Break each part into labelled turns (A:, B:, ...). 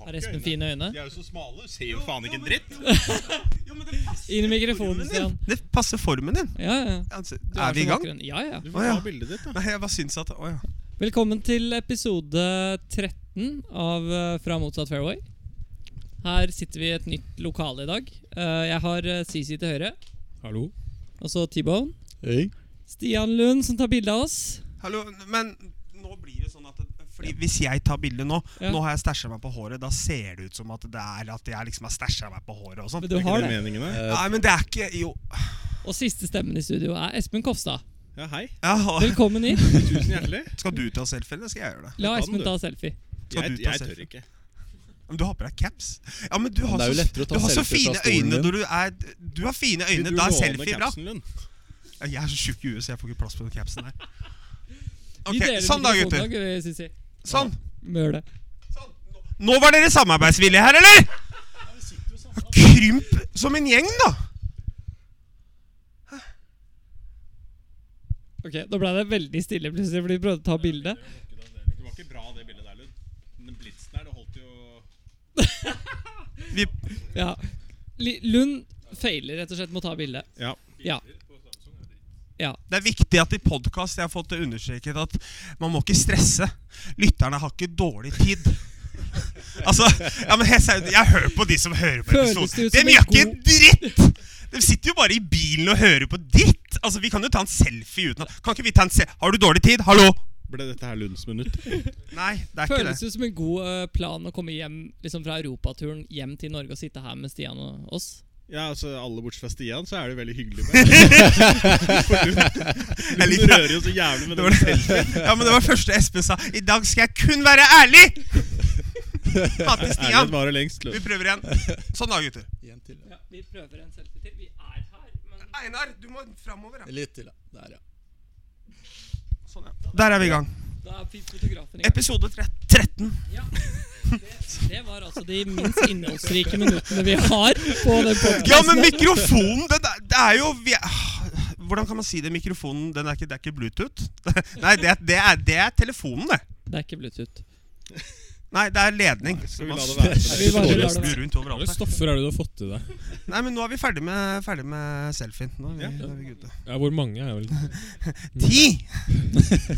A: Har Espen fine øyne?
B: De er jo så smale, ser jo faen ikke en dritt.
C: Jo, men det passer
A: Inn i
C: jo
A: mikrofonen,
C: formen din.
A: Stian.
D: Det passer formen din.
A: Ja, ja.
D: Altså,
A: Du
D: er vi
A: så
D: i gang?
A: vakker. Ja, ja.
B: Du
D: Å,
B: får
D: ja.
B: ta bildet ditt, da.
D: Nei, jeg bare syns at Å ja.
A: Velkommen til episode 13 av eh, Fra motsatt fairway. Her sitter vi i et nytt lokale i dag. Eh, Jeg har eh, Sisi til høyre,
E: Hallo.
A: og så T-Bone. Stian Lund som tar bilde av oss.
D: Hallo, men nå blir det sånn at fordi Hvis jeg tar bilde nå
A: Ja.
D: Nå har jeg stæsja meg på håret. Da ser det ut som at det er at jeg liksom har stæsja meg på håret og sånn.
A: Men du har det.
B: meningen, da?
D: Nei, men det er ikke Jo.
A: Og siste stemmen i studio er Espen Kofstad.
B: Ja, hei.
D: Ja,
A: Velkommen hit.
B: Tusen hjertelig.
D: skal du ta selfie, eller skal jeg gjøre det?
A: La
B: Ta den,
A: Espen
B: du.
A: ta selfie.
D: Skal
B: Jeg,
D: du ta
B: jeg
D: selfie?
B: tør ikke.
D: Men du har på deg caps. Ja, men du
E: Men
D: har,
E: det er jo
D: så,
E: lettere å ta
D: du har så
E: selfie fra
D: fine
E: stolen
D: øyne
E: din.
D: når du er Du har fine
B: Vil
D: øyne.
B: du
D: Da er
B: låne
D: selfie bra.
B: capsen, Lund?
D: Ja, Jeg er så tjukk i huet, så jeg får ikke plass på den capsen her.
A: Vi
D: Ok,
A: deler
D: Sånn da,
A: mikrofonen
D: gutter.
A: i dag, eh, Sisi.
D: Sånn.
A: Vi gjør det.
D: Sånn. Nå- Nå var dere samarbeidsvillige her, eller? Krymp som en gjeng, da.
A: Ok, Da ble det veldig stille plutselig, fordi vi prøvde å ta bilde.
B: Det var ikke bra, det bildet der, Lund. Den blitsen der, det holdt jo
D: Vi,
A: Ja. Li- Lund feiler rett og slett med å ta bilde.
B: Ja.
A: Ja. ja.
D: det er viktig at i podkast jeg har fått det understreket at man må ikke stresse. Lytterne har ikke dårlig tid. Altså, ja, men helt seriøst, Jeg hører på de som hører på
A: Føles det
D: episoden.
A: ut som
D: De
A: en
D: gjør ikke en
A: god-
D: dritt! De sitter jo bare i bilen og hører på dritt. Altså, Vi kan jo ta en selfie uten at Kan ikke vi ta en se... Har du dårlig tid? Hallo!
B: Ble dette her Lunds minutt?
D: Nei, det er ikke
A: Føles
D: det.
A: jo som en god eh, plan å komme hjem liksom fra europaturen hjem til Norge og sitte her med Stian og oss.
B: Ja, altså Alle bortsett fra Stian, så er det veldig hyggelig med. For Lund,
D: Jeg
B: Lund
D: liker det.
B: rører jo så jævlig med
D: Det
B: den
D: var det.
B: selfien.
D: Ja, men det var første Espen sa. I dag skal jeg kun være ærlig! Hater
B: Erlend
D: Stian.
B: varer lengst, Lund.
D: Vi prøver igjen. Sånn da, gutter.
E: En til. ja.
A: Ja, vi prøver en selfie til. Vi er her, men
D: Einar, du må framover.
E: Litt til, ja. Der, ja.
D: Sånn, ja. Der er vi i gang.
A: da er fotografen i gang.
D: Episode tre- 13.
A: Ja. Det, det var altså de minst innholdsrike minuttene vi har på den podcasten
D: Ja, men mikrofonen, den er, det er jo vi, ah, Hvordan kan man si det? Mikrofonen, den er ikke, det er ikke Bluetooth? Nei, det, det, er, det er telefonen, det.
A: Det er ikke Bluetooth.
D: Nei, det er ledning.
B: Skal vi la det være?
A: Vi bare lar det
D: Snur
A: være.
D: rundt
E: Hva slags
D: overalt. her.
E: stoffer er det du har fått til deg?
D: Nei, men nå er vi ferdig med, ferdig med selfien. Nå er vi,
B: Ja.
D: nå er vi gute.
E: Ja, hvor mange er vel
D: Ti!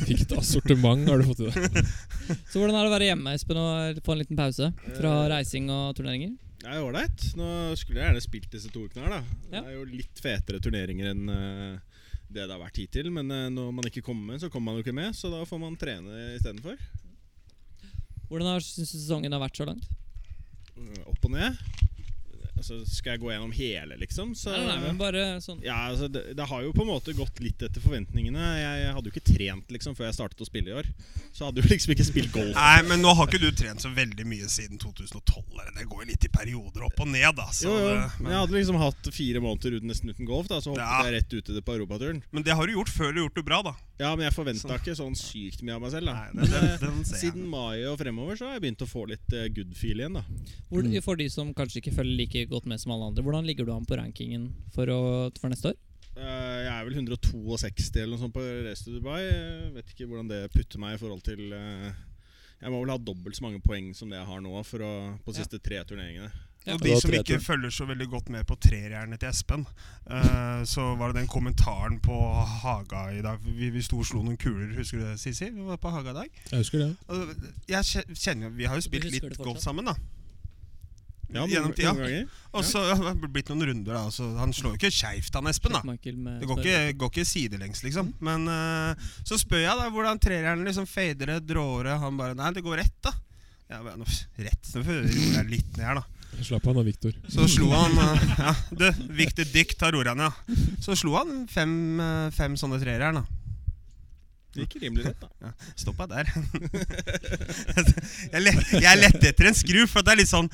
E: Hvilket assortiment har du fått til deg?
A: Så hvordan er det å være hjemme Espen, og få en liten pause fra
D: Eh.
A: reising og turneringer?
B: Det er ålreit. Nå skulle jeg gjerne spilt disse to ukene her, da.
A: Ja.
B: Det er jo litt fetere turneringer enn eh, det det har vært hittil. Men eh, når man ikke kommer med, så kommer man jo ikke med, så da får man trene istedenfor.
A: Hvordan har syns du sesongen har vært så langt?
B: Eh, Opp og ned. Altså, skal jeg gå gjennom hele, liksom, så
A: Nei, nei, men bare sånn
B: ja, altså, det, det har jo på en måte gått litt etter forventningene. Jeg, jeg hadde jo ikke trent liksom før jeg startet å spille i år. Så hadde jo liksom ikke spilt golf.
D: Nei, men nå har ikke du trent så veldig mye siden 2012. Eller det går jo litt i perioder opp og ned, da. Så
B: Jo, jo.
D: det,
B: Men
D: men,
B: jeg hadde liksom hatt fire måneder uten, nesten uten golf, da, så hoppet
D: Ja.
B: jeg rett ut i det på europaturen.
D: men det har du gjort før du har gjort det bra, da.
B: Ja, men jeg forventa
D: Sånn.
B: ikke sånn sykt mye av meg selv. da
D: Nei, det, det,
B: Men, eh,
D: den ser jeg.
B: Siden mai og fremover så har jeg begynt å få litt eh, good feel igjen. da
A: Hvor,
E: Mm.
A: For de som kanskje ikke følger like godt med som alle andre, hvordan ligger du an på rankingen for, å, for neste år?
B: Eh, Jeg er vel 162 eller noe sånt på Race to Dubai. Jeg vet ikke hvordan det putter meg i forhold til eh, Jeg må vel ha dobbelt så mange poeng som det jeg har nå for å, på de
A: Ja.
B: siste tre turneringene.
A: Ja,
D: Og
E: det
D: de
E: var
D: som
E: tre,
D: ikke
E: tror jeg.
D: følger så veldig godt med på trerjernet til Espen, eh, så var det den kommentaren på Haga i dag. Vi, vi sto og slo noen kuler, husker du det, Sisi? Vi var på Haga i dag.
E: Jeg husker det.
D: Og jeg kje- kjenner jo Vi har jo
A: Du
D: spilt
A: husker det
D: litt golf
A: fortsatt?
D: sammen, da.
B: Ja, noen,
D: Gjennom tida.
B: noen ganger.
D: Og så har det blitt noen runder, da. og så han slår jo ikke skeivt, han Espen, da.
A: Michael med
D: Det går
A: Sverre.
D: ikke, går ikke sidelengs, liksom. Men eh, så spør jeg da hvordan trerjernet liksom fader det, dråere. Han bare Nei, det går rett, da. Jeg bare, «Nå, rett, nå roer jeg litt ned her, da.
E: Slapp av nå, Viktor.
D: Så slo han eh, ja, Du, viktig dikt tar ordet han, ja. Så slo han fem, eh, fem sånne treere her, da.
B: Det gikk rimelig rett, da.
D: Stoppa der. jeg, let, jeg lette etter en skru, for det er litt sånn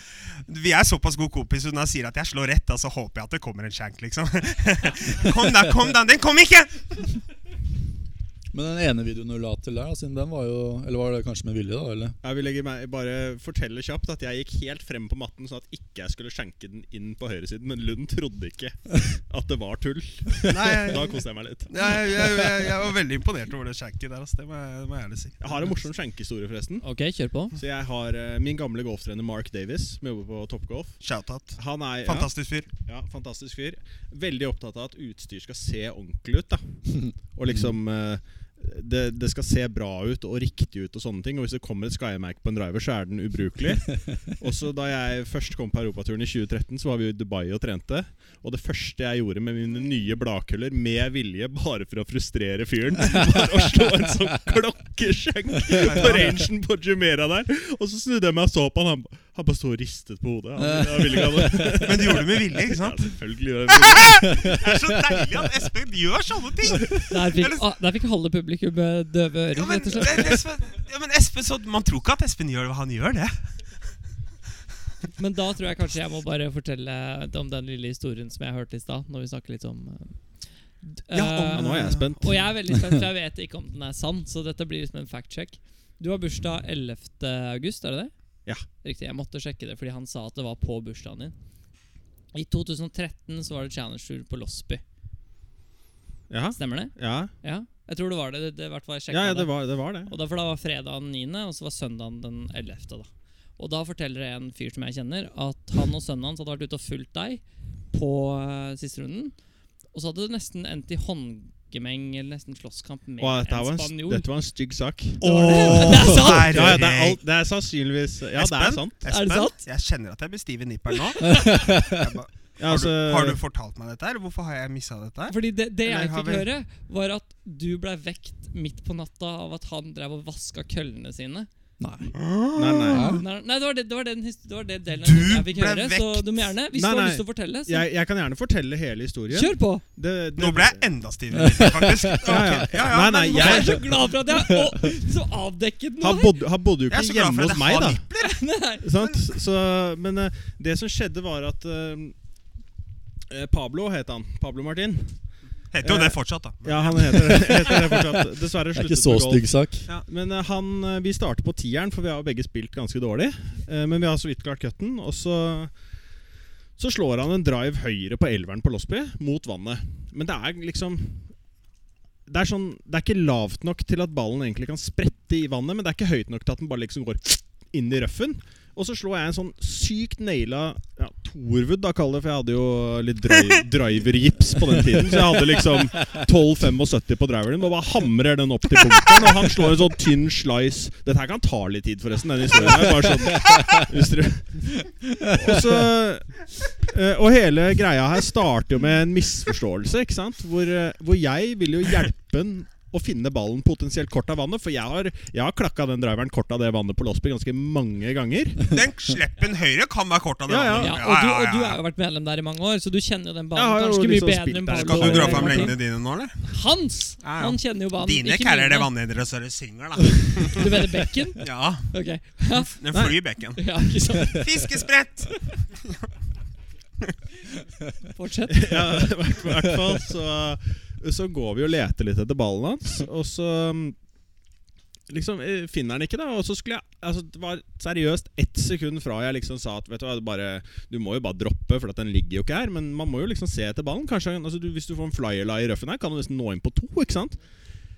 D: Vi er såpass gode kompiser, når jeg sier at jeg slår rett, da, så håper jeg at det kommer en shank, liksom. kom da, kom da! Den kom ikke!
F: Men den ene videoen du la til der, da, siden den var jo Eller var det kanskje med vilje, da? Eller?
B: Jeg vil legge meg, bare fortelle kjapt at jeg gikk helt frem på matten sånn at ikke jeg skulle skjenke den inn på høyresiden, men Lund trodde ikke at det var tull.
D: Nei,
B: Da
D: jeg,
B: koste jeg meg litt.
D: jeg, jeg, jeg, jeg var veldig imponert over det skjenket der. Altså, det må jeg, må jeg ærlig si.
B: Jeg har en morsom skjenkehistorie, forresten.
A: Ok, kjør på.
B: Så jeg har eh, Min gamle golftrener Mark Davis, som jobber på Toppgolf.
D: Shout-out.
B: Han er ja,
D: Fantastisk fyr.
B: Ja, fantastisk fyr. Veldig opptatt av at utstyr skal se ordentlig ut. da Og liksom eh, det, det skal se bra ut og riktig ut. og sånne ting Og Hvis det kommer et skymerke på en driver, så er den ubrukelig. Også Da jeg først kom på europaturen i 2013, Så var vi jo i Dubai og trente. Og det første jeg gjorde med mine nye bladkuller, med vilje bare for å frustrere fyren, var å slå en sånn klokkeskjenk på rangen på Jumera der. Og så snudde jeg meg og så på han. Han ba- Han bare sto og ristet på hodet. Han, han ville ikke ha det.
D: Men du gjorde det med vilje, ikke sant?
B: Ja, selvfølgelig gjør jeg det.
D: Det er så deilig at Espen gjør sånne ting!
A: Der fikk, ah, der fikk halve publikum eh, døve ører,
D: Ja, men,
A: rett og slett.
D: men Espen, ja, men Espen så, Man tror ikke at Espen gjør det, han gjør det.
A: Men da tror jeg kanskje jeg må bare fortelle om den lille historien som jeg hørte i stad, når vi snakker litt om eh,
D: Ja, om-
A: eh,
B: Ja, nå er jeg spent.
A: Og jeg er veldig spent, for jeg vet ikke om den er sann. Så dette blir liksom en fact-check. Du har bursdag 11. august, er det det?
B: Ja.
A: Riktig. Jeg måtte sjekke det fordi han sa at det var på bursdagen din. I 2013 så var det Challenge Tour på Losby.
B: Ja,
A: Stemmer det?
B: ja.
A: Ja. Jeg tror det var det. det, det i hvert fall jeg sjekket
B: ja, ja
A: det.
B: det, var, det var det.
A: Og da, for da var fredag den 9., og så var søndagen den 11. Da. Og da forteller det en fyr som jeg kjenner, at han og sønnen hans hadde vært ute og fulgt deg på eh, siste runden. Og så hadde det nesten endt i håndgemeng eller nesten slåsskamp med
B: Og dette,
A: en
B: var en,
A: spanjol.
B: dette var en stygg sak.
D: Åh,
A: Det er sant.
B: Ja, ja, det, er
D: herregud.
B: alt, det er sannsynligvis Ja, det er
D: Espen?
B: sant.
D: Espen,
A: Er det sant?
D: Jeg kjenner at jeg blir stiv i nipperen nå. Jeg ba,
B: Ja,
D: har, du,
B: altså,
D: har du fortalt meg dette, her? Hvorfor har jeg missa dette? her?
A: Fordi det, det
D: Eller
A: jeg
D: har
A: fikk
D: vi-
A: høre, var at du blei vekt midt på natta av at han drev og vaska køllene sine.
F: Nei.
B: Nei, nei.
F: Hæ?
A: Nei, nei det, var det, det, var den, his- det var det delen av
D: Du
A: historien jeg fikk
D: ble
A: høre. Så
D: vekt?
A: du må gjerne, hvis
B: Nei,
A: du har
B: nei.
A: lyst til å fortelle, så
B: Jeg, jeg kan gjerne fortelle hele historien.
A: kjør på!
B: Det, det,
D: Nå ble jeg enda stivere, faktisk. Ok,
B: Ja, ja. Nei, nei,
D: men
A: Jeg er
B: jeg-
A: så glad for at jeg å, så avdekket noe
B: Han bodde, han bodde jo
D: jeg er så
B: ikke
D: glad
B: hjemme
D: for at jeg
B: hos meg,
D: har
B: da.
D: nippler.
A: Nei.
B: Sant? Så, men eh, det som skjedde, var at eh, eh, Pablo het han. Pablo Martin.
D: Heter jo det fortsatt, da.
B: Ja, han heter, heter det fortsatt. Dessverre sluttet
F: Det er ikke så
B: med golf.
F: stygg sak.
B: Ja, men eh, han, eh, vi starter på tieren, for vi har jo begge spilt ganske dårlig. Eh, Men vi har så vidt klart cutten. Og så, så slår han en drive høyre på elveren på Losby, mot vannet. Men det er liksom det er, sånn, det er ikke lavt nok til at ballen egentlig kan sprette i vannet, men det er ikke høyt nok til at den bare liksom går inn i røffen. Og så slår jeg en sånn sykt naila ja, Torwood, da, kall det, for jeg hadde jo litt dri drivergips på den tiden. Så jeg hadde liksom 12,75 på driveren og bare hamrer den opp til bunkeren. Og han slår en sånn tynn slice. Dette her kan ta litt tid, forresten. Den historien her, bare sånn hvis dere... Og så eh, Og hele greia her starter jo med en misforståelse, ikke sant? Hvor, eh, hvor jeg vil jo hjelpe han å finne ballen potensielt kort av vannet. For jeg har, jeg har klakka den driveren kort av det vannet på Losby ganske mange ganger.
D: Den sleppen høyre kan være kort av det.
B: Ja, ja.
D: andre.
A: Ja, og du, og du har jo vært medlem der i mange år, så du kjenner jo den banen
B: Jeg har jo
A: ganske mye
B: liksom
A: bedre
B: spilt
A: enn
B: der.
A: Pablo.
D: Skal du dra
A: og
D: fram
A: Martin.
D: lengdene dine nå, eller?
A: Hans!
D: Ja, ja.
A: Han kjenner jo banen.
D: Dine
A: ikke
D: kæler det
A: mine.
D: vannhindre så det synger, da.
A: Du mener bekken?
D: Ja,
A: Ok. Ja,
D: den flyr i bekken.
A: ja ikke sant.
D: Fiskesprett!
A: Fortsett.
B: Ja, i hvert i hvert fall så, så går vi og leter litt etter ballen hans, og så mm, Liksom eh, finner han ikke, da. Og så skulle jeg altså, Det var seriøst ett sekund fra jeg liksom sa at Vet du hva, det bare, du må jo bare droppe, for at den ligger jo ikke her. Men man må jo liksom se etter ballen. Kanskje han- altså, du, Hvis du får en flyerlie i røffen her, kan du nesten nå inn på to. ikke sant?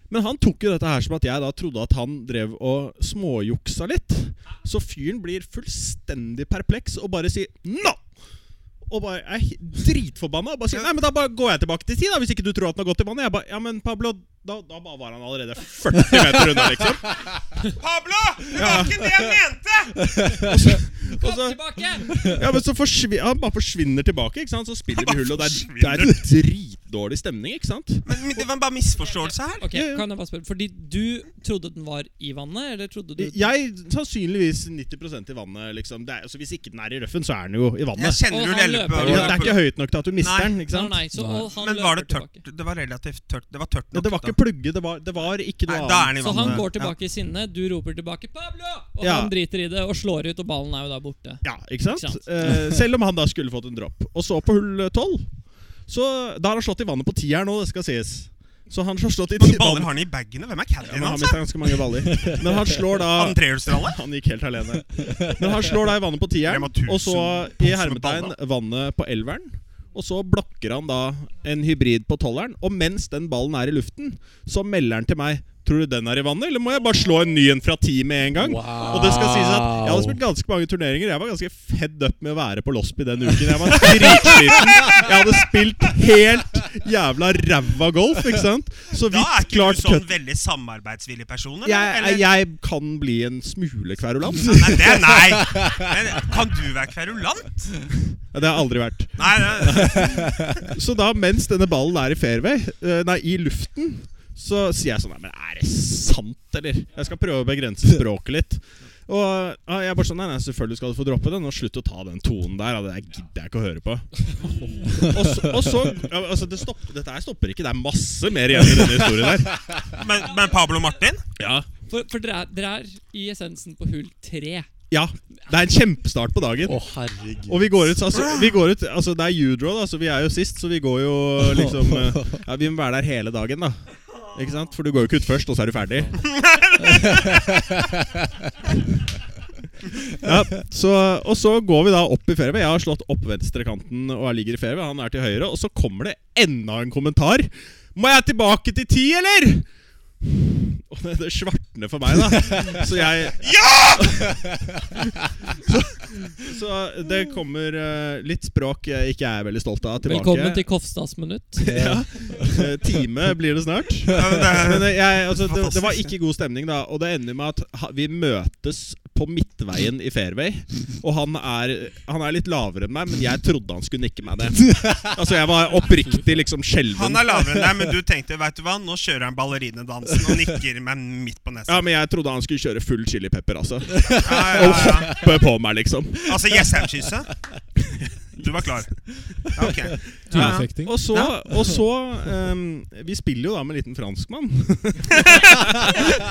B: Men han tok jo dette her som at jeg da trodde at han drev og småjuksa litt. Så fyren blir fullstendig perpleks og bare sier 'no'! og bare er he- dritforbanna. Og bare sier, Nei, men da bare går jeg tilbake til ti, da, hvis ikke du tror at den har gått i vannet. Jeg bare, ja, men Pablo, da, da bare var han allerede 40 meter unna, liksom.
D: Pablo! Det var ikke det jeg mente!
B: Og så,
A: Tilbake!
B: ja, men så forsvin- han bare forsvinner tilbake, ikke sant? så spiller vi hull, og det er, det er en dritdårlig stemning, ikke sant?
D: Men men det var bare misforståelse her.
A: Ok, kan jeg bare spørre Fordi du trodde den var i vannet, eller trodde du
B: Jeg sannsynligvis 90 i vannet, liksom. Det er, altså, hvis ikke den er i røffen, så er den jo i
D: Jeg
B: vannet.
D: kjenner
A: Og
D: du
A: han
D: leller
A: løper
D: på
A: jo.
B: Det er ikke høyt nok til at du mister
D: Nei.
B: den, ikke
A: Nei,
B: sant?
A: nei, så
E: Nei.
A: og han
D: Men var det
A: løper
D: tørt? Det var relativt tørt. Det var tørt nok.
B: Det var ikke plugge, det var, det var ikke
D: Nei, da
B: noe
D: er den i
B: annet.
A: Så
D: vannet.
A: han går tilbake i sinne, du roper tilbake 'Pablo!' Og
B: Ja.
A: han driter i det og slår ut, og ballen er jo da borte.
B: Ja, ikke sant?
A: Ikke sant?
B: Eh, selv om han da skulle fått en dropp. Og så på hull tolv. Så da har han slått i vannet på tieren nå, det skal sies. Så han har slått i
D: Mange
B: ti
D: baller har han i bagene? Hvem er
B: Ja, men
D: caddien
B: han
D: hans?
B: mistet ganske mange baller. Men han slår da
D: da? Han trehjulstralle?
B: Han gikk helt alene. Men han slår da i vannet på tieren,
D: Rema 1000
B: og så i
D: pose med
B: hermetegn
D: ball,
B: vannet på elveren. Og så blokker han da en hybrid på tolveren, og mens den ballen er i luften, så melder han til meg Tror du den er i vannet, eller må jeg bare slå en ny en fra ti med en gang? Og det skal sies at Jeg hadde spilt ganske mange turneringer. Jeg var ganske fed up med å være på Losby den uken. Jeg var dritsliten. Jeg hadde spilt helt jævla ræva golf, ikke sant? Så
D: Da er
B: vidt
D: ikke
B: klart
D: du
B: cut
D: sånn veldig samarbeidsvillig person? Eller?
B: jeg,
D: Eller-
B: jeg kan bli en smule kverulant.
D: Nei, det er nei! Men kan du være kverulant?
B: Det har jeg aldri vært.
D: Nei, det,
B: Så da, mens denne ballen er i fairway, eh, nei, i luften, så sier jeg sånn Nei, men er det sant, eller? Jeg skal prøve å begrense språket litt. Og ja, jeg bare sånn Nei, nei, selvfølgelig skal du få droppe den. Og slutt å ta den tonen der. Ja, det der gidder jeg ikke å høre på. Og så, og så ja, altså, det stopper, Dette her stopper ikke. Det er masse mer igjen i denne historien her.
D: men, men Pablo Martin?
B: Ja.
A: For, for dere, er, dere er i essensen på hull tre.
B: ja. Det er en kjempestart på dagen.
F: Å, herregud.
B: Og vi går ut, altså, vi går ut altså, Det er U-draw, da, så vi er jo sist, så vi går jo liksom eh, Ja, Vi må være der hele dagen, da. Ikke sant? For du går jo ikke ut først, og så er du ferdig. Ja, så, og så går vi da opp i fairway. Jeg har slått opp venstrekanten og jeg ligger i fairway. Han er til høyre, og så kommer det enda en kommentar. Må jeg tilbake til ti, eller? Og det, det svartner for meg, da. Så jeg Så det kommer eh, litt språk jeg ikke er veldig stolt av tilbake.
A: Velkommen til Kofstads minutt.
B: ja. Eh, Time blir det snart. Men eh, jeg, altså, det, det var ikke god stemning, da. Og det ender med at ha- vi møtes på midtveien i fairway. Og han er, han er litt lavere enn meg, men jeg trodde han skulle nikke meg ned. Altså, jeg var oppriktig liksom
D: Han
B: skjelven.
D: er lavere enn deg, men du tenkte vet du hva, nå kjører han ballerinedansen og nikker meg midt på
B: Ja,
D: nesen.
B: men jeg trodde han skulle kjøre full chili pepper, altså.
D: Ja, ja, ja.
B: Bø på meg, liksom.
D: Altså, Jessheim-kysse? Du var klar. Ja, ok. Ja, ja.
E: Tunefekting.
B: Og så, og så ehm, Vi spiller jo da med en liten franskmann.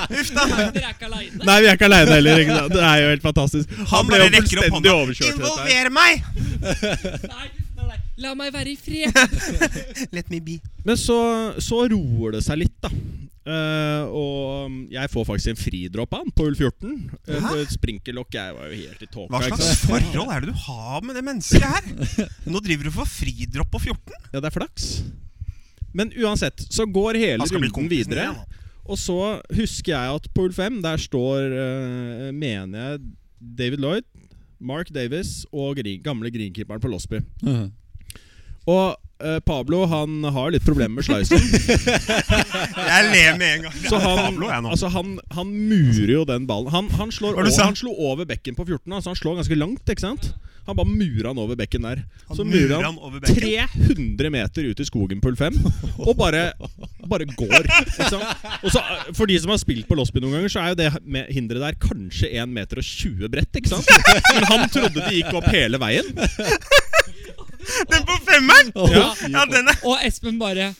D: Uff da.
A: Dere er ikke aleine.
B: Nei, vi er ikke aleine heller. Ikke sant? Det er jo helt fantastisk.
D: Han
B: ble
D: bare
B: jo
D: rekker opp
B: fullstendig
D: hånda.
B: overkjørt. i dette her.
D: Involver meg!
A: Nei, nei, nei. La meg være i fred.
D: Let me be.
B: Men så, så roer det seg litt, da. Eh, og um, jeg får faktisk en fridropp av han på hull 14. Eh,
D: Hæ?
B: på et sprinkerlokk. Jeg var jo helt i tåka.
D: Hva
B: ikke
D: slags
B: sant?
D: forhold er det du har med det mennesket her? Nå driver du for fridropp på 14.
B: Ja, det er flaks. Men uansett, så går hele
D: Han skal bli
B: runden
D: kompisen din
B: videre.
D: igjen. da.
B: Og så husker jeg at på hull 5 der står, eh, mener jeg, David Lloyd, Mark Davis og green, gamle greenkeeperen på Losby. Og eh, Pablo han har litt problemer med slicen.
D: Jeg ler med en gang.
B: Så
D: Ja,
B: han,
D: Pablo, jeg nå.
B: altså han, han murer jo den ballen. Han, han, slår
D: Hva du
B: over,
D: sa?
B: han slo over bekken på 14, altså han slår ganske langt. ikke sant? Han bare murer han over bekken der.
D: Han
B: Så
D: murer
B: murer han
D: han over bekken.
B: 300 meter ut i skogen på hull 5 og bare, bare går. ikke sant? Og så, eh, For de som har spilt på Losby noen ganger, så er jo det med- hinderet der kanskje 1 meter og 20 bredt. ikke sant? Men han trodde det gikk opp hele veien.
D: Den på femmeren!
B: Ja.
D: Ja, den er
A: Og Espen bare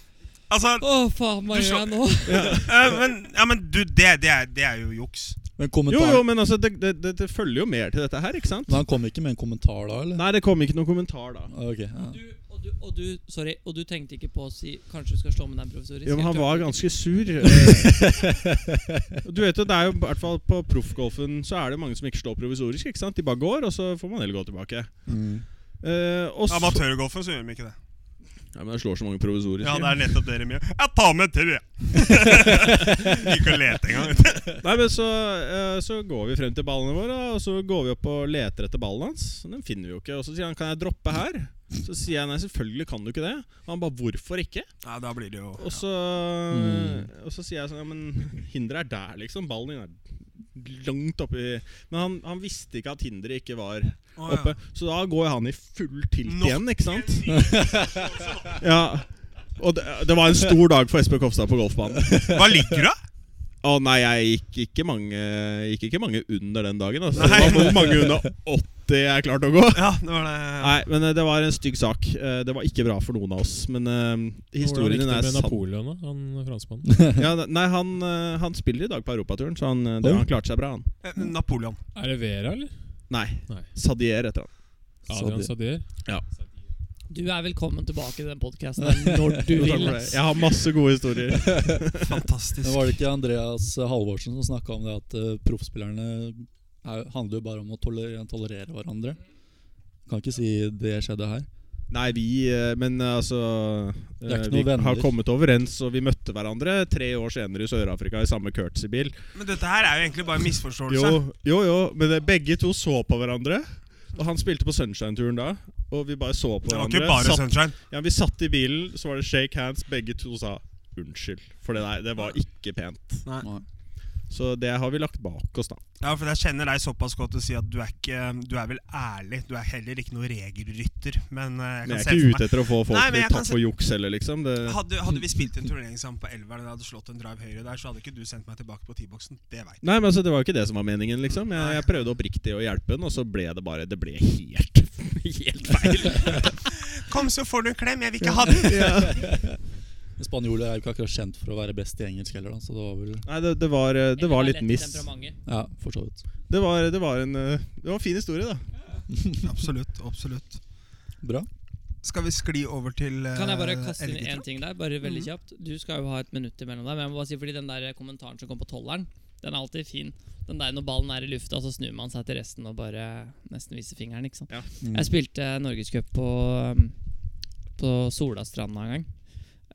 D: Altså,
A: Å, faen, hva
D: Du
A: gjør
D: så-
A: jeg nå?
D: øh, men, ja, men du, det, det, er, det er jo juks.
F: Men
B: Jo,
F: kommentar
B: jo, men altså, det, det, det, det følger jo mer til dette her, ikke sant?
F: Men han kom ikke med en kommentar da, eller?
B: Nei, det kom ikke noen kommentar da.
F: Ah, Ok, ja.
A: Du, og, du, og, du, sorry, og du tenkte ikke på å si Kanskje du skal slå med den provisorisk?
B: Ja, men han
A: Jeg
B: var
A: klarte
B: ganske sur. eh. du vet jo, det er jo i hvert fall På proffgolfen så er det mange som ikke slår provisorisk. ikke sant? De bare går, og så får man heller gå tilbake.
F: Mm.
B: Eh, og så,
D: Amatørgolfen så gjør de ikke det.
B: ja, men jeg slår så mange provisoriske.
D: Ja, det er nettopp det de gjør. Jeg tar med til, jeg. ikke å lete engang. vet du.
B: Nei, men så, eh, så går vi frem til ballene våre, og så går vi opp og leter etter ballen hans. Den finner vi jo ikke. Og så sier han 'kan jeg droppe her?' Så sier jeg nei, selvfølgelig kan du ikke det. Og han bare 'hvorfor ikke?'
D: Ja, da blir det jo
B: Og så, og så sier jeg sånn Ja, men hinderet er der, liksom. Ballen din er langt oppi Men han, han visste ikke at hinderet ikke var
D: Å, ja.
B: oppe. Så da går han i full tilt
D: Nok
B: igjen, ikke sant? ja. Og det, det var en stor dag for SB Kofstad på golfbanen.
D: Hva ligger du av?
B: Å nei, jeg gikk ikke mange, gikk ikke mange under den dagen. Altså. Det var hvor mange under 80 jeg klarte å gå.
D: Ja, det var det.
B: Nei, men eh, det var en stygg sak. Eh, Det var ikke bra for noen av oss. Men eh, historien din
E: Hvordan
B: er
E: gikk det med
B: sann.
E: Napoleon, da? Han franskmannen.
B: Ja, ne- nei, han, eh, han spiller i dag på europaturen, så han, eh, det,
F: Oi.
B: han klarte seg bra, han.
D: Eh, Napoleon.
E: Er det Vera, eller?
B: Nei.
E: Nei.
B: Sadier heter han.
E: Adrian Sadier.
A: Du er velkommen tilbake til den podkasten når du
B: Takk
A: vil.
B: for det.
A: ass.
B: Jeg har masse gode historier.
D: Fantastisk.
F: Men var det ikke Andreas Halvorsen som snakka om det at eh, proffspillerne er, handler jo bare om å tolerere, tolerere hverandre? Kan ikke si det skjedde her.
B: Nei, vi eh, Men eh, altså
F: Det er
B: eh,
F: ikke
B: Vi
F: noen venner.
B: har kommet overens, og vi møtte hverandre tre år senere i Sør-Afrika i samme curtsy-bil.
D: Men dette her er jo egentlig bare en misforståelse.
B: Jo, jo, jo, men eh, begge to så på hverandre. Og han spilte på Sunshine-turen da, og vi bare så på
D: Det var ikke
B: hverandre.
D: bare
B: satt,
D: Sunshine.
B: ja, vi satt i bilen, så var det shake hands. Begge to sa unnskyld, for det der det var ikke pent.
D: Nei.
F: Nei.
B: Så det har vi lagt bak oss, da.
D: Ja, for jeg kjenner deg såpass godt til å si at du er ikke Du er vel ærlig. Du er heller ikke noen regelrytter. Men eh, jeg
B: Men
D: kan se
B: jeg er
D: for
B: ikke
D: meg
B: ute etter å få folk
D: Nei, men
B: til
D: jeg
B: å
D: kan
B: tatt
D: se-
B: for juks heller, liksom. Det,
D: hadde, hadde vi spilt en turnering sammen på Elveren og jeg hadde slått en drive høyre der, så hadde ikke du sendt meg tilbake på T-boksen. Det veit jeg.
B: Nei, men altså, Det var jo ikke det som var meningen. liksom Jeg, jeg prøvde oppriktig å hjelpe den, og så ble det bare Det ble helt, helt feil.
D: Kom, så får du en klem! Jeg vil ikke ha den!
F: Men Spanjoler er jo ikke akkurat kjent for å være best i engelsk heller, da, så det var vel
B: Nei, det, det, var, eh, det var litt
A: lett
B: miss.
A: temperamentet.
F: Ja, for så vidt.
B: Det var, det var en eh, Det var en fin historie, da.
D: Absolutt. absolutt
F: Bra.
D: Skal vi skli over til eh,
A: Kan jeg bare kaste inn
D: elggutter?
A: én ting der? Bare veldig kjapt Du skal jo ha et minutt imellom deg. Men jeg må bare si Fordi den der kommentaren som kom på tolleren, den er alltid fin. Den der når ballen er i lufta, så snur man seg til resten og bare nesten viser fingeren. Ikke sant?
B: Ja.
F: Mm.
A: Jeg spilte norgescup på, um, på Solastranda en gang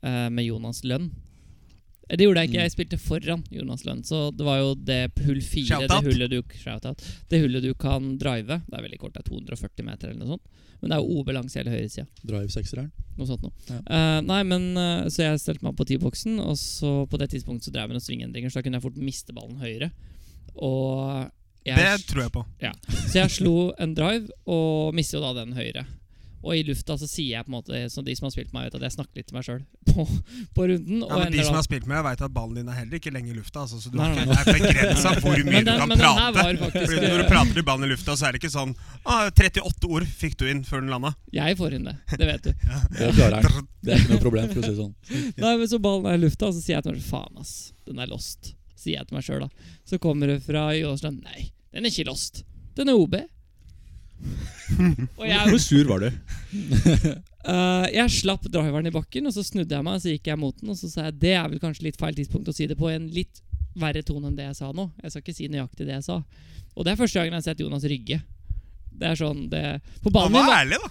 A: eh, med Jonas Lønn. Eh, Det gjorde jeg ikke, jeg spilte foran Jonas Lønn. Så det var jo det hull fire, det
D: Shoutout.
A: hullet, du, shoutout, det hullet du kan drive. Det er veldig kort, det er 240 meter eller noe sånt. Men det er jo OB langs hele høyresida.
F: Drive-seksereren.
A: Noe sånt noe.
F: Ja.
A: Eh, nei, men eh, Så jeg stelte meg opp på T-boksen, og så på det tidspunktet så drev jeg med noen svingendringer, så da kunne jeg fort miste ballen høyre. Og jeg,
D: Det tror jeg på.
A: så jeg slo en drive, og mister jo da den høyre. Og i lufta så sier jeg på en måte Så de som har spilt meg, vet at jeg snakker litt til meg sjøl på, på runden.
D: Ja,
A: og
D: men De
A: ender
D: som
A: da-
D: har spilt med deg, veit at ballen din er heller ikke lenge i lufta. Altså, så du
A: Nei,
D: har
A: nei,
D: ikke- det er begrensa hvor mye
A: Men
D: du
A: den-
D: kan
A: men den her
D: prate.
A: var faktisk-
D: Fordi Når du prater i ballen i lufta, så er det ikke sånn ah, 38 ord fikk du inn før den landa.
A: Jeg får inn det, det vet du.
F: Det klarer han. Det er ikke noe problem, for å si det sånn.
A: Nei, men Så ballen er i lufta, og så sier jeg til meg selv, faen, ass, den er lost. Sier jeg til meg sjøl, da. Så kommer det fra Jåsland nei, den er ikke lost. Den er OB. og jeg
B: Hvor sur var du?
A: Eh, jeg slapp driveren i bakken, og så snudde jeg meg og så gikk jeg mot den. Og så sa jeg det er vel kanskje litt feil tidspunkt å si det på i en litt verre tone enn det jeg sa nå. Jeg skal ikke si nøyaktig det jeg sa. Og det er første gangen jeg har sett Jonas rygge. Det er sånn det For
D: Han
A: ballen min,
D: var
A: var-
D: ærlig, da.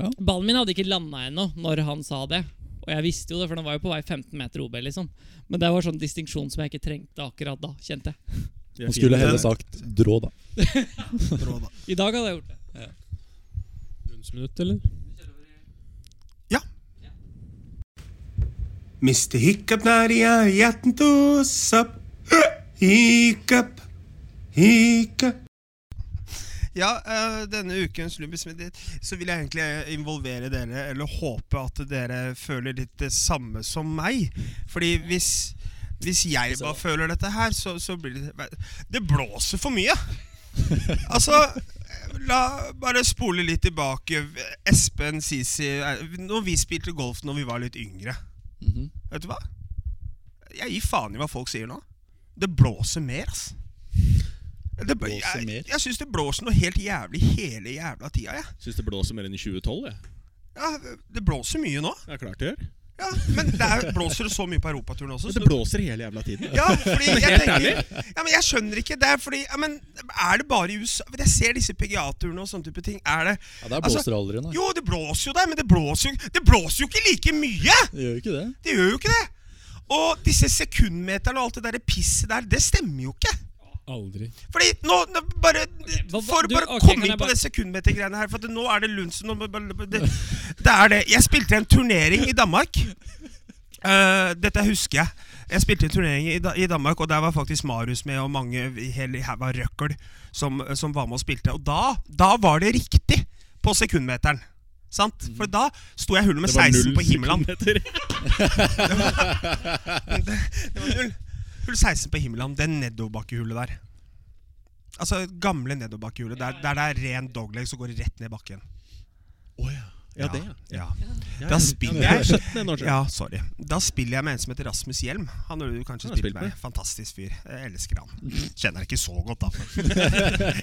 F: Ja.
A: ballen min hadde ikke landa ennå når han sa det. Og jeg visste jo det, for den var jo på vei 15 meter OB, liksom. Men det var sånn distinksjon som jeg ikke trengte akkurat da, kjente jeg.
F: Han skulle
B: heller
F: heller sagt drå, da.
D: Rå, da.
A: I dag hadde jeg gjort det.
E: Lunsjminutt, eller?
D: Mr. Hiccup Naria, hjerten tos up. Hiccup, hiccup. Ja, eh, denne ukens Lumbus Meditt, så vil jeg egentlig involvere dere, eller håpe at dere føler litt det samme som meg. Fordi hvis, hvis jeg bare føler dette her, så, så blir det Det blåser for mye! Altså La bare spole litt tilbake. Espen, Sisi eh, Når vi spilte golf når vi var litt yngre
F: Mhm.
D: Vet du hva? Jeg gir faen i hva folk sier nå. Det blåser mer, ass. Det bl-
F: Blåser mer?
D: Jeg, jeg syns det blåser noe helt jævlig hele jævla tida, jeg.
B: Syns det blåser mer enn i 2012, jeg.
D: Ja, det blåser mye nå.
B: Det er klart det gjør.
D: Ja, men det er, blåser det så mye på europaturen også?
B: Men
D: Så
B: det blåser hele jævla tiden.
D: ja, fordi jeg tenker ja, men Jeg skjønner ikke. Det er fordi ja, men Er det bare i USA? Men Jeg ser disse PGA-turene og sånne type ting. Er det
F: Ja, Der
D: Altså,
F: blåser det aldri, nei.
D: Jo, det blåser jo der, men det blåser jo, det blåser jo ikke like mye!
F: Det gjør jo ikke det.
D: Det gjør jo ikke det! Og disse sekundmeterne og alt det der pisset der, det stemmer jo ikke!
E: Aldri.
D: Fordi nå, nå bare
A: hva- hva-
D: For å
A: du,
D: bare
A: ok, kan
D: komme inn
A: jeg
D: på
A: bare-
D: det sekundmetergreiene her. For at nå er det Lundsen nå må bare- det, det er det. Jeg spilte en turnering i Danmark. Eh, dette husker jeg. Jeg spilte en turnering i, da, i Danmark, og der var faktisk Marius med, og mange i hele haug av røkkel som, som var med og spilte. Og da, da var det riktig på sekundmeteren. Sant? For da sto jeg i hullet med 16 på himmelen.
B: sekunder.
D: Det var null. Hull 16 på himmelen, det nedoverbakkehullet der. Altså gamle nedoverbakkehjulet. Der, der det er ren dogleg som går rett ned bakken.
B: Å ja. Ja, det, ja.
D: ja.
B: Ja,
D: Da
B: ja.
D: spiller
B: Ja,
D: jeg.
B: det er 17 en år siden.
D: Ja, sorry. Da spiller jeg med en som heter Rasmus Hjelm. Han har du kanskje
B: Han
D: spilt
B: har spilt
D: med.
B: med.
D: Fantastisk fyr. Jeg elsker han. Kjenner han ikke så godt, da.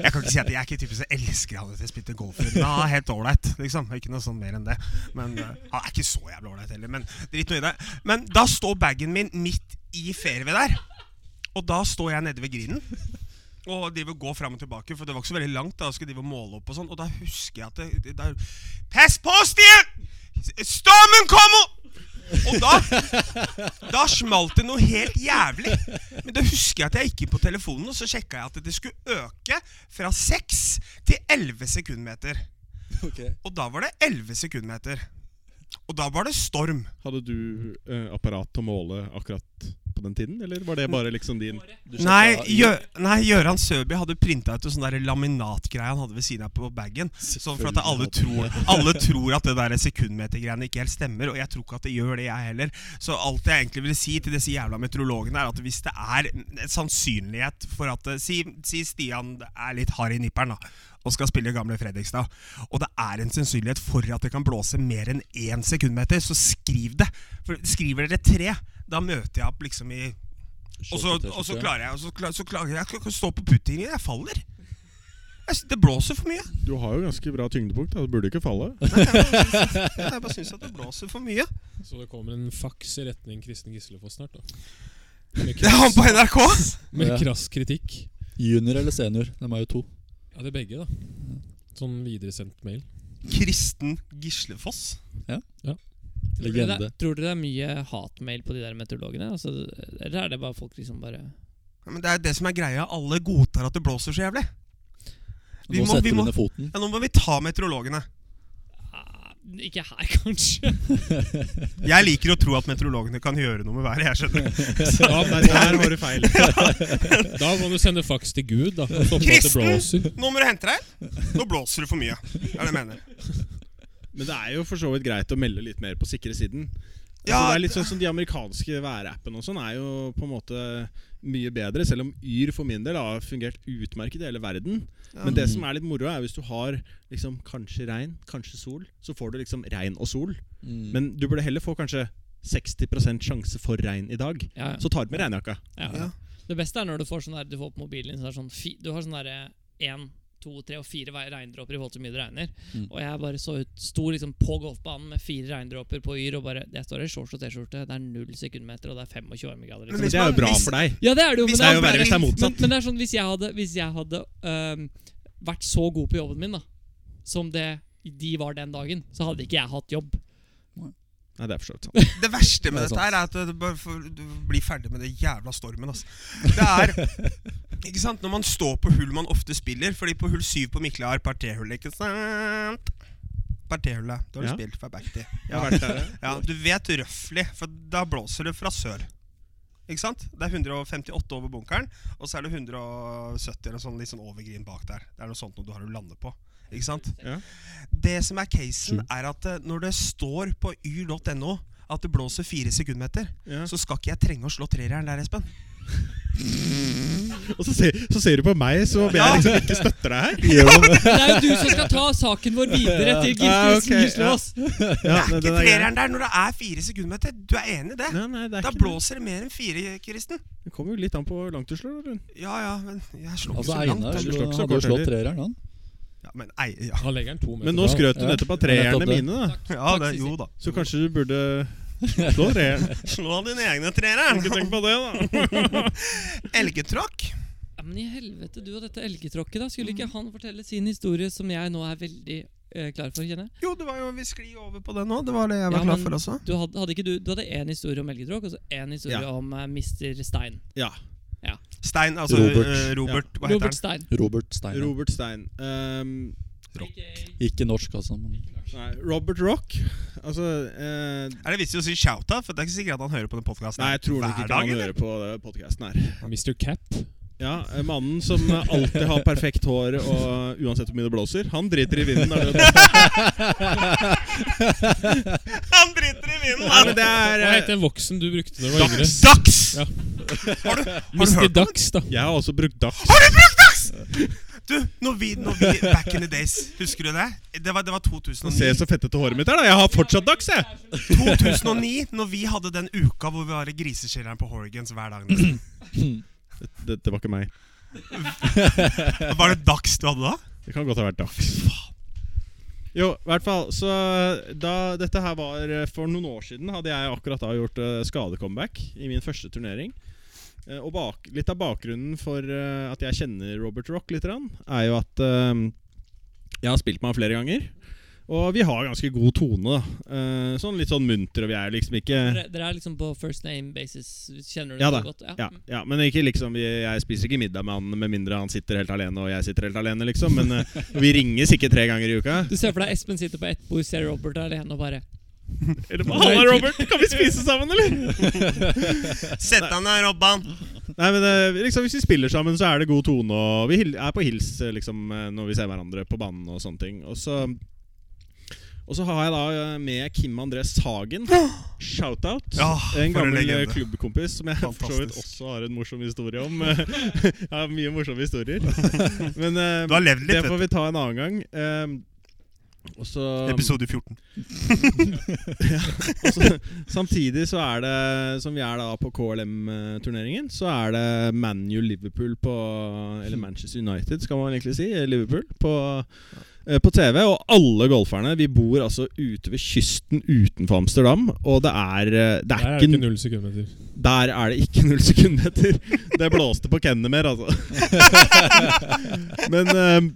D: Jeg kan ikke si at jeg er ikke typen som elsker han etter jeg spilte golf. Men han er helt ålreit, liksom. Ikke noe sånn mer enn det. Men eh, han er ikke så jævlig ålreit heller, men drit nå i det. Men da står bagen min midt i fairway der. Og da står jeg nede ved grinen og driver og går fram og tilbake, for det var ikke så veldig langt. da, og skulle drive og måle opp og sånn, og da husker jeg at det, det, det er, Pass på, Stian! Stormen kommer! Og da Da smalt det noe helt jævlig. Men da husker jeg at jeg gikk inn på telefonen, og så sjekka jeg at det skulle øke fra 6 til 11 sekundmeter.
F: Ok.
D: Og da var det 11 sekundmeter. Og da var det storm.
B: Hadde du eh, apparat til å måle akkurat på den tiden, eller var det bare liksom din
F: Du
D: Nei,
F: sjekket-
D: Gjø nei Gjøran Søby hadde printa ut en sånn der laminatgreie han hadde ved siden av på bagen. Sånn for at alle tror, alle tror at det der sekundmetergreiene ikke helt stemmer, og jeg tror ikke at det gjør det, jeg heller. Så alt jeg egentlig vil si til disse jævla meteorologene, er at hvis det er en sannsynlighet for at eh, Si, si Stian er litt hard i nipperen, da. Og skal spille gamle Fredrikstad. Og det er en sannsynlighet for at det kan blåse mer enn én sekundmeter, så skriv det. For skriver dere tre, da møter jeg opp liksom i og så,
F: Skjorte,
D: og så
F: T-skjorte.
D: klarer jeg så klarer, så klarer jeg, jeg kan ikke stå på puttingen. Jeg faller. Jeg, sy- det blåser for mye.
B: Du har jo ganske bra tyngdepunkt, da. Du burde ikke falle.
D: Nei, jeg bare syns- jeg bare syns at det blåser for mye.
E: Så det kommer en faks i retning Kristen Gislefoss snart, da. Med
D: Det er han
E: krass,
D: på NRK!
E: med
F: Ja.
E: krass kritikk.
F: Junior eller senior? De er jo to.
E: Ja, det er begge, da. Sånn videresendt mail.
D: Kristen Gislefoss.
A: Tror dere det,
F: Legende.
A: tror dere det er mye hatmail på de der meteorologene? Altså, eller er det bare folk liksom bare
D: Ja, Men det er det som er greia. Alle godtar at det blåser så jævlig. Vi
F: Nå
D: må- vi
F: setter
D: må-
F: du ned foten.
D: Ja, nå må vi ta meteorologene.
A: ah, Ikke her, kanskje.
D: Jeg liker å tro at meteorologene kan gjøre noe med været. jeg skjønner
E: Ja,
B: Nei, der var du feil.
E: Da må du sende faks til Gud, da. og Stoppe at det
D: Kristen!
E: blåser.
D: Nå må du hente deg Nå blåser det for mye. Det er det jeg mener.
B: Men det er jo for så vidt greit å melde litt mer på sikre siden.
D: Ja,
B: Ja, det er litt sånn som De amerikanske værappene og sånn er jo på en måte mye bedre, selv om Yr for min del har fungert utmerket i hele verden. Men det som er litt moro, er hvis du har liksom kanskje regn, kanskje sol, så får du liksom regn og sol.
F: Mm.
B: Men du burde heller få kanskje 60 sjanse for regn i dag.
A: Ja,
B: Så tar du med regnjakka.
A: ja.
D: Ja.
A: Det beste er når du får sånn der, du får på mobilen din så er det sånn fi, Du har sånn derre én, to, tre og fire vei- regndråper i forhold til hvor mye det regner.
F: Mm.
A: Og jeg bare så ut Sto liksom på golfbanen med fire regndråper på Yr og bare Jeg står i shorts og T-skjorte, det er null sekundmeter, og det er 25 varmegrader.
D: Men
A: Liksom.
B: Men
D: hvis
B: det er
D: man-
B: jo bra
D: hvis-
B: for deg.
A: Ja, det er det jo,
D: Hvis
A: men
B: Det
A: det
B: er
A: er
B: jo verre hvis det er
A: Men,
B: motsatt.
A: men det er sånn, hvis jeg hadde, hvis jeg hadde øhm, vært så god på jobben min da som det de var den dagen, så hadde ikke jeg hatt jobb.
B: Nei, det er for så vidt sant.
D: Det verste med
F: Det er
D: dette her er at du bare får- du blir ferdig med det jævla stormen. Altså. Det er ikke sant, Når man står på hull man ofte spiller Fordi på hull syv på Mikla har parterhullet, ikke sant? Parterhullet. Da har du
B: Ja.
D: spilt fra back til.
B: Jeg
D: Ja.
B: har vært der. ja.
D: ja, Du vet røftlig, for da blåser det fra sør. Ikke sant? Det er 158 over bunkeren, og så er det 170 eller sånn, litt sånn over green bak der. Det er noe sånt noe du har å lande på. Ikke sant?
B: Ja.
D: Det som er casen, er at eh, når det står på yr.no at det blåser fire sekundmeter,
B: Ja.
D: så skal ikke jeg trenge å slå trerjern der, Espen.
B: Og så ser, så ser du på meg som om jeg
D: Ja.
B: liksom ikke støtter deg her.
A: Det er jo du som skal ta saken vår videre til
B: Ja, Ah, ok,
A: Gilsen
B: ja.
A: Gislås!
B: Ja,
D: Det
B: nei,
D: er
B: den
D: ikke
B: er grei.
D: trerjern der når det er fire sekundmeter! Du er enig i det?
B: Nei, nei, det er
D: Da
B: ikke det.
D: blåser det mer enn fire, Kristen.
B: Det kommer jo litt an på hvor langt du slår. Rune.
D: Ja ja, men jeg slår ikke
F: Altså,
D: så
F: Einar
D: langt.
B: du
F: hadde
B: slår ikke så
F: jo
B: kort
F: slått
B: heller.
F: treeren, han.
D: Ja, men, ei, ja.
E: Han legger den to meter
B: Men nå
E: fra.
B: skrøt du
F: Ja.
B: nettopp av
F: Nettopp
B: treerne
F: det.
B: mine, da.
D: ja det, jo da.
B: Så kanskje du burde slå treeren.
D: Slå av dine egne trerjern.
B: Ikke tenk på det, da.
D: Elgetråkk.
A: Ja, men i helvete, du og dette elgetråkket, da. Skulle
B: Mm.
A: ikke han fortelle sin historie, som jeg nå er veldig eh, klar for, kjenner jeg?
D: Jo, det var jo vi skli over på det nå. Det var det jeg var
A: Ja,
D: klar
A: men-
D: for også.
A: Du hadde, hadde ikke du, du hadde én historie om elgetråkk, og så én historie
B: Ja.
A: om eh, Mr. Stein.
B: Ja,
D: Stein, altså
F: Robert.
D: eh, Robert hva heter
A: Robert
D: han?
A: Stein.
F: Robert Steiner.
B: Robert Stein. Ehm,
F: Ikke norsk, altså. Men
B: nei, Robert Rock. Altså eh,
D: Er det vits i å si shout-out? For det er ikke sikkert at han hører på den podkasten.
B: Nei, jeg tror nok ikke han
D: eller?
B: hører på podkasten her.
E: Mr. Cap.
B: Ja, eh, Mannen som eh, alltid har perfekt hår og uansett hvor mye det blåser, han driter i vinden. Er det det?
D: Han driter i vinden!
B: Nei,
D: han.
B: men det er
E: Hva het
B: eh,
E: den voksen du brukte når du var yngre?
D: Dags! Dags!
E: Ja.
D: Har, du, har du
E: Mr.
D: hørt om
E: Dax, da.
B: Jeg har også brukt Dax.
D: Har du brukt Dags?! Du, når vi, når vi Back in the days, husker du det? Det var, det var
B: Se
D: 2009.
B: så fettete håret mitt er, da! Jeg har fortsatt dags, jeg!
D: 2009, når vi hadde den uka hvor vi var i grisekjelleren på Horgans hver dag. nesten.
B: Det, det var ikke meg.
D: Var det dags du hadde da?
B: Det kan godt ha vært dags. Jo, i hvert fall. Så eh, da dette her var eh, for noen år siden, hadde jeg akkurat da gjort eh, skadecomeback i min første turnering. Eh, Og bak, litt av bakgrunnen for eh, at jeg kjenner Robert Rock litt, grann, er jo at eh, jeg har spilt med han flere ganger. Og vi har ganske god tone. da Eh, Sånn litt sånn munter, og vi er liksom ikke
A: Dere, dere er liksom på first name basis. Kjenner du
B: Ja
A: det
B: da.
A: godt? Mm.
B: ja, ja, men ikke liksom vi- Jeg spiser ikke middag med han med mindre han sitter helt alene og jeg sitter helt alene, liksom. Men eh, vi ringes ikke tre ganger i uka.
A: Du ser for deg Espen sitter på ett bord, ser Robert er alene og bare
B: Eller, Halla, Robert! Kan vi spise sammen, eller?
D: Sett deg ned, Robban.
B: Nei, men eh, liksom Hvis vi spiller sammen, så er det god tone, og vi hil- er på hils eh, liksom eh, når vi ser hverandre på banen og sånne ting. Og så og så har jeg da eh, med Kim André Sagen. Shoutout.
D: Ja,
B: en
D: for en
B: gammel eh,
D: legende.
B: klubbkompis som jeg for så vidt
D: Fantastisk.
B: også har en morsom historie om. Jeg har mye morsomme historier. Men eh,
D: Du har levd litt,
B: Det
D: vet
B: får
D: du.
B: vi ta en annen gang. Ehm, og så,
D: Episode 14.
B: og så Samtidig så er det, som vi er da på KLM-turneringen, så er det ManU Liverpool på Eller Manchester United, skal man egentlig si. Liverpool på, eh, på TV. Og alle golferne. Vi bor altså ute ved kysten utenfor Amsterdam, og det er, eh, det
E: Der
B: er
E: er det
B: ikke
E: ikke null sekundmeter.
B: Der er det ikke null sekundmeter. Det blåste på kennene mer, altså. Men ehm,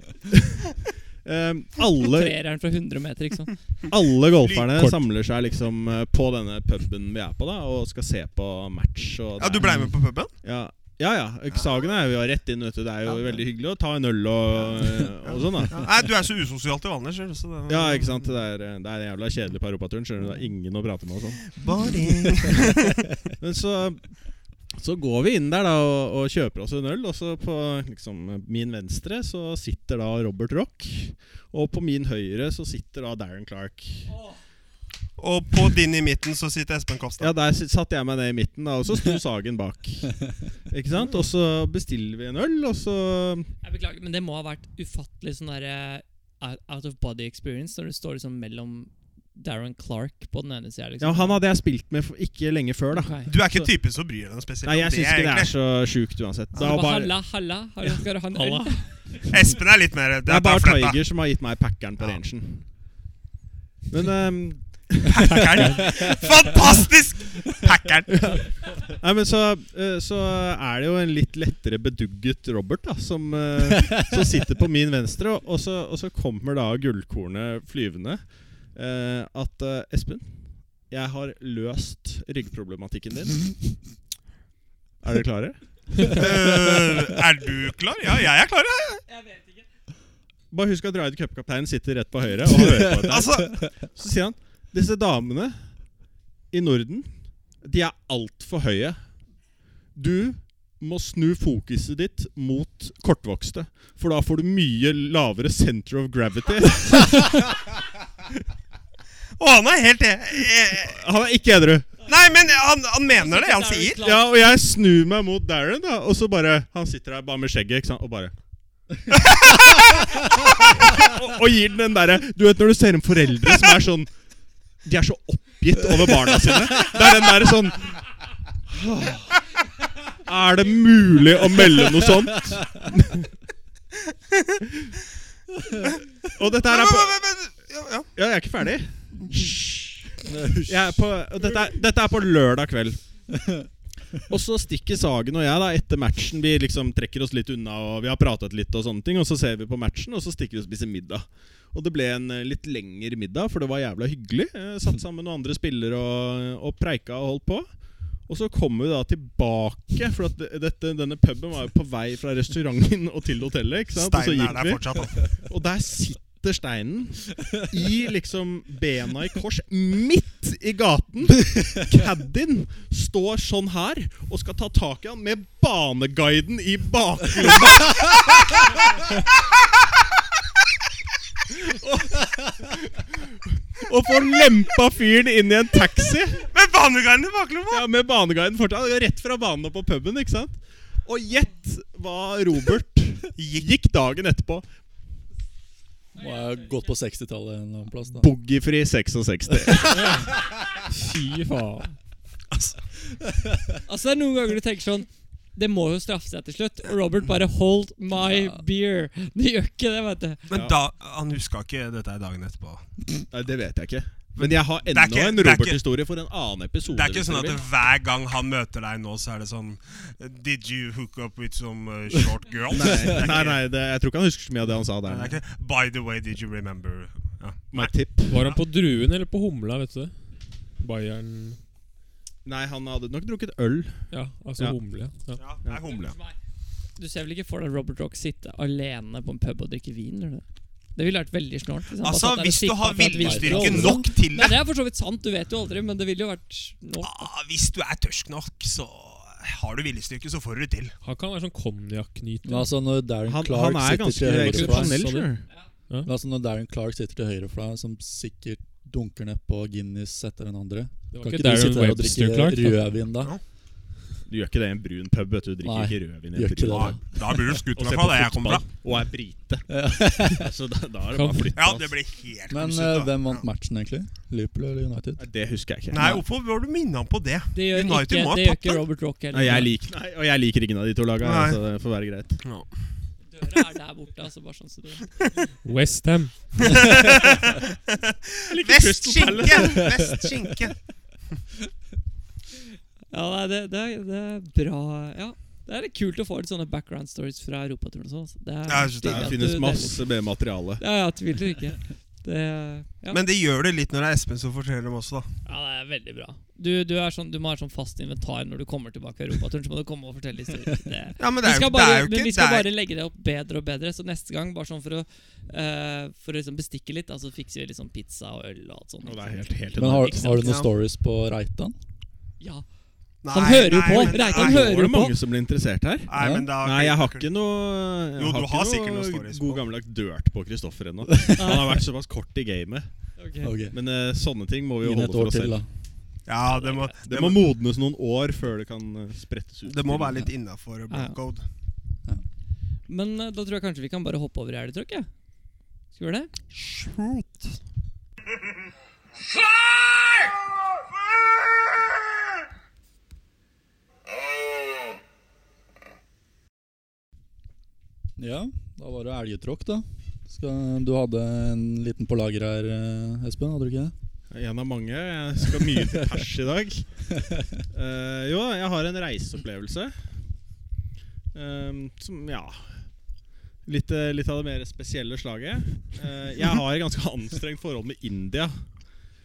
B: ehm, alle
A: Trereren fra 100 meter, ikke sant?
B: alle golferne
E: Kort.
B: samler seg liksom eh, på denne puben vi er på, da og skal se på match. Og det
D: Ja, Du
B: er-
D: blei med på puben?
B: Ja, ja. ja. Sagen er jo rett inn, vet du. Det er jo veldig hyggelig å ta en øl og, eh, og sånn, da.
D: Nei, du er så usosial til vanlig. skjønner du, så det-
B: Ja, ikke sant. Det er, eh, det er jævla kjedelig på europaturen. Skjønner du, det er ingen å prate med og sånn.
D: Boring.
B: Men så så går vi inn der da og, og kjøper oss en øl, og så på liksom, min venstre så sitter da Robert Rock. Og på min høyre så sitter da Darren Clark.
D: Og på din i midten så sitter Espen Kopstad.
B: Ja, Der s- satte jeg meg ned i midten, da, og så sto Sagen bak. Ikke sant? Og så bestiller vi en øl, og så
A: Jeg beklager, men det må ha vært ufattelig sånn derre out out of body experience når du står liksom mellom Darren Clark på den ene sida, liksom.
B: Ja, Han hadde jeg spilt med for ikke lenge før, da.
A: Ok.
D: Du er ikke typen som bryr deg noe spesielt.
B: Nei, jeg
D: om
B: syns ikke det er
D: egentlig.
B: så sjukt uansett. Det
A: Bare,
B: er bare,
A: halla, halla, halla, skal du ha en øl?
B: Halla.
D: Espen er litt mer
B: det er bare
D: fletta.
B: Tiger som har gitt meg packeren på rangen. Men ehm,
D: Packeren. Fantastisk! Packeren.
B: Nei, men så, eh, så er det jo en litt lettere bedugget Robert da som, eh, som sitter på min venstre. Og, og, så, og så kommer da gullkornet flyvende eh, at eh, Espen, jeg har løst ryggproblematikken din. Er dere klare?
D: Øh, er du klar? Ja, jeg er klar, jeg.
B: Bare husk at Ryder Cup-kapteinen sitter rett på høyre. Og hører på dette.
D: Altså,
B: Så sier han disse damene i Norden, de er altfor høye. Du må snu fokuset ditt mot kortvokste, for da får du mye lavere center of gravity.
D: og han er helt eh,
B: Han er ikke edru.
D: Nei, men han, han mener det han sier.
B: Ja, og jeg snur meg mot Darren, da, og så bare Han sitter der bare med skjegget, ikke sant, og bare og, og gir den den derre Du vet når du ser en foreldre som er sånn De er så oppgitt over barna sine. Det er den derre sånn «Åh, Er det mulig å melde noe sånt? og dette her
D: Men,
B: er på
D: men, men, men, ja, ja.
B: ja, jeg er ikke ferdig. Jeg er på, og dette, er, dette er på lørdag kveld. Og så stikker Sagen og jeg da etter matchen. Vi liksom trekker oss litt unna, og vi har pratet litt, og sånne ting Og så ser vi på matchen, og så stikker vi og spiser middag. Og det ble en eh, litt lengre middag, for det var jævla hyggelig. Eh, Satt sammen med andre spillere og, og preika og holdt på. Og så kommer vi da tilbake, for at dette, denne puben var jo på vei fra restauranten og til hotellet. Ikke sant? Og så
D: Steinen er
B: gikk
D: der
B: vi.
D: fortsatt. da.
B: Og der sitter steinen i liksom bena i kors, midt i gaten. Caddien står sånn her og skal ta tak i han med baneguiden i baklomma. Og, og får lempa fyren inn i en taxi.
D: Men banegangen i baklomma!
B: Ja, Med baneguiden fortsatt. Rett fra banen og på puben, ikke sant? Og gjett hva Robert Gikk dagen etterpå.
F: Må jeg ha gått på 60-tallet en eller annen plass, da.
B: Boogiefri 66.
E: Fy faen.
A: Altså det er Noen ganger du tenker sånn Det må jo straffe seg til slutt. Og Robert bare 'hold my beer'. Det gjør ikke det, vet du.
D: Men da, han huska ikke dette er dagen etterpå.
B: Nei, det vet jeg ikke. Men jeg har
D: er
B: enda
D: ikke-
B: en
D: det er ikke-
B: Robert-historie for en annen episode.
D: Det er ikke
B: hvis
D: sånn at
B: dere
D: det,
B: vil.
D: hver gang han møter deg nå, så er det sånn Did you hook up with some uh, short girls? Det er
B: Nei,
D: ikke-
B: nei, det, jeg tror ikke han husker så mye av det han sa der.
D: Det er ikke By the way, did you remember ja.
B: My tip.
E: Var han på Druen eller på Humla, vet du det? Bayern
B: Nei, han hadde nok drukket øl.
E: Ja, altså
B: Ja.
E: Humle. Ja.
D: ja, det er humle.
A: Du ser vel ikke for deg Robert Rock sitte alene på en pub og drikke vin? Eller? det? Det ville vært veldig snålt. hvis han bare
D: Altså,
A: satt der og
D: hvis du
A: sippet
D: har
A: på et
D: viljestyrke
A: vinskål.
D: nok til
A: Nei,
D: det
A: Det er for så vidt sant, du vet jo aldri, men det ville jo vært nå.
D: ah, Hvis du er tørsk nok, så har du viljestyrke, så får du det til.
E: Han kan være sånn konjakknyter.
F: Men altså, når Darren
B: Han,
F: Clark
B: han er
F: sitter
B: ganske
F: til høyre for
B: eksepsjonell.
F: deg
E: sa du?
B: skjønner du.
F: Men altså, når Darren Clark sitter til høyre for deg, som sikkert dunker nedpå Guinness etter den andre
E: Det var
F: Kan
E: ikke
F: ikke du
E: Darren
F: sitte der og
E: Webster,
F: drikke
E: Clark. Da.
F: rødvin, da?
B: Du gjør ikke det i en brun pub. vet Du Du drikker
F: Nei,
B: ikke rødvin i
F: gjør
B: en
F: ikke
B: brun pub.
F: det.
D: Da, da blir du skutt, i
B: Og
D: hvert
B: ser
D: fall. der Jeg
B: på
D: kommer fra.
B: fotball og er brite. altså, da, da er det
E: Kan-
B: bare å flytte. altså.
D: Ja,
B: ass.
D: det blir helt
F: Men
D: kosete,
F: eh,
D: da.
F: hvem vant matchen, egentlig? Liverpool eller United?
B: Nei, Det husker jeg ikke.
D: Nei, hvorfor bør du minne ham på det?
A: Det gjør,
D: United
A: ikke,
D: må ha
A: det gjør
D: tatt
A: ikke
D: den.
A: Robert Rock heller.
B: Nei, jeg liker, nei, og jeg liker ingen av de to laga.
D: Nei.
B: Så det får være greit.
A: Døra er der borte, altså, bare sånn så du
E: Westham.
D: Vest skinke! Vest skinke.
A: Ja, nei, det, det, er- det er bra Ja, det er litt kult å få litt sånne background stories fra europaturen og sånn. altså. Det er
D: Ja, jeg synes
B: Det
D: det
A: stilig at du
B: finnes
A: deler.
B: masse B-materiale.
A: Ja, jeg tviler ikke. Det, ja.
D: Men det gjør det litt når det er Espen som forteller dem også, da.
A: ja, det er veldig bra. Du, du, er sånn, du må ha et sånn fast inventar når du kommer tilbake fra europaturen. Så må du komme og fortelle historier. Det,
D: Ja, men
A: vi
D: det er, jo-
A: skal,
D: det
A: bare,
D: er jo
A: men vi
D: ikke
A: skal
D: det er-
A: bare legge det opp bedre og bedre. Så neste gang, bare sånn for å, eh, for å liksom bestikke litt, da, så fikser vi litt sånn pizza og øl og alt sånt.
B: Og det er helt, helt
F: Men har,
A: Ikke sant?
F: har du noen
D: Ja.
F: stories på Reitan?
A: Ja,
D: Nei,
A: Han hører jo
D: nei,
A: på.
D: men-
A: Reitan
D: nei,
B: Nå
A: hører
B: er det
A: på.
B: mange som blir interessert her.
D: Nei, men da
B: Nei, jeg har ikke noe jeg
D: Jo, du har
B: ikke
D: sikkert noen stories på.
B: god gammeldags dirt på Kristoffer ennå. Han har vært såpass kort i gamet.
F: Ok,
B: Men eh, sånne ting må vi jo
F: Inn
B: holde
F: et
B: for
F: år
B: oss
F: til,
B: selv.
F: da.
D: Ja, det må,
B: Det må modnes noen år før det kan eh, sprettes ut.
D: det må
B: til-
D: være litt innafor blokkode.
B: Eh.
A: Men eh, da tror jeg kanskje vi kan bare hoppe over i elgetråkk, jeg. Skal vi gjøre det?
F: Ja, da var det elgetråkk, da. Skal, du hadde en liten på lager her, eh, Espen? Hadde du ikke det?
B: En av mange. Jeg skal mye til pers i dag. Eh, jo, jeg har en reiseopplevelse. Ehm, som, ja litt, eh, litt av det mer spesielle slaget. Eh, jeg har et ganske anstrengt forhold med India.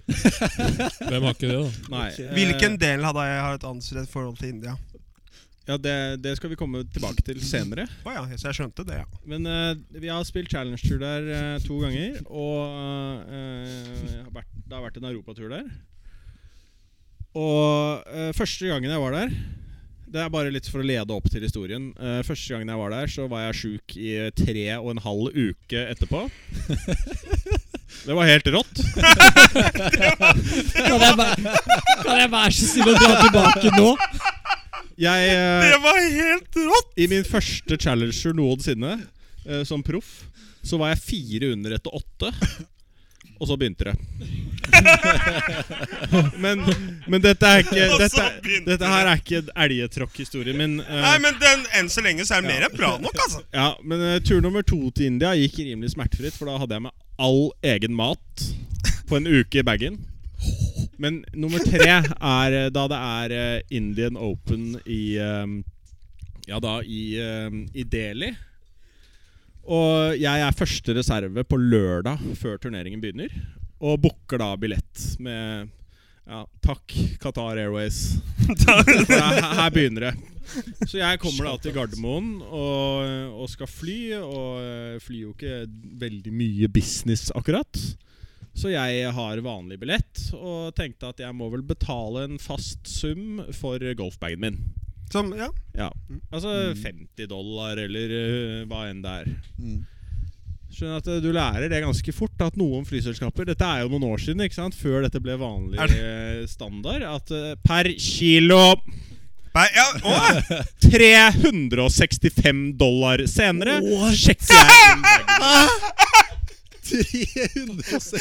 E: Hvem har ikke det, da?
B: Nei, eh,
D: Hvilken del hadde jeg har et anstrengt forhold til India?
B: eh, Ja, det, det skal vi komme tilbake til senere.
D: Å ja, så jeg skjønte det, ja.
B: Men eh, vi har spilt Challenge Tour der eh, to ganger, og eh, har vært, det har vært en europatur der. Og eh, første gangen jeg var der Det er bare litt for å lede opp til historien. Eh, første gangen jeg var der, så var jeg sjuk i eh, tre og en halv uke etterpå. Det var helt rått.
A: Kan jeg, bare, kan jeg være så snill å dra tilbake nå?
B: Jeg eh,
D: var helt rått!
B: I min første challenger noensinne eh, som proff, så var jeg fire under etter åtte. Og så begynte det. men, men dette er ikke
D: Og så
B: Dette,
D: begynte
B: dette her er ikke elgetråkkhistorien min. eh,
D: Nei, men den, enn så lenge så er det mer enn bra nok, altså.
B: ja, men eh, tur nummer to til India gikk rimelig smertefritt, for da hadde jeg med all egen mat på en uke i bagen. Men nummer tre er eh, da det er eh, Indian Open i eh, Ja, da i, eh, i Delhi. Og jeg er første reserve på lørdag før turneringen begynner. Og booker da billett med ja, Takk, Qatar Airways. For her, her begynner det. Så jeg kommer da til Gardermoen og, og skal fly, og eh, flyr jo ikke veldig mye business akkurat. Så jeg har vanlig billett og tenkte at jeg må vel betale en fast sum for golfbagen min.
D: Som, ja.
B: Ja, Altså 50 dollar eller eh, hva enn det er.
F: Mm.
B: Skjønner at eh, Du lærer det ganske fort at noen flyselskaper Dette er jo noen år siden, ikke sant? før dette ble vanlig
D: Er
B: eh, standard. At eh, per kilo
D: Nei, ja, å,
B: 365 dollar senere sjekker jeg innbakken.
F: 365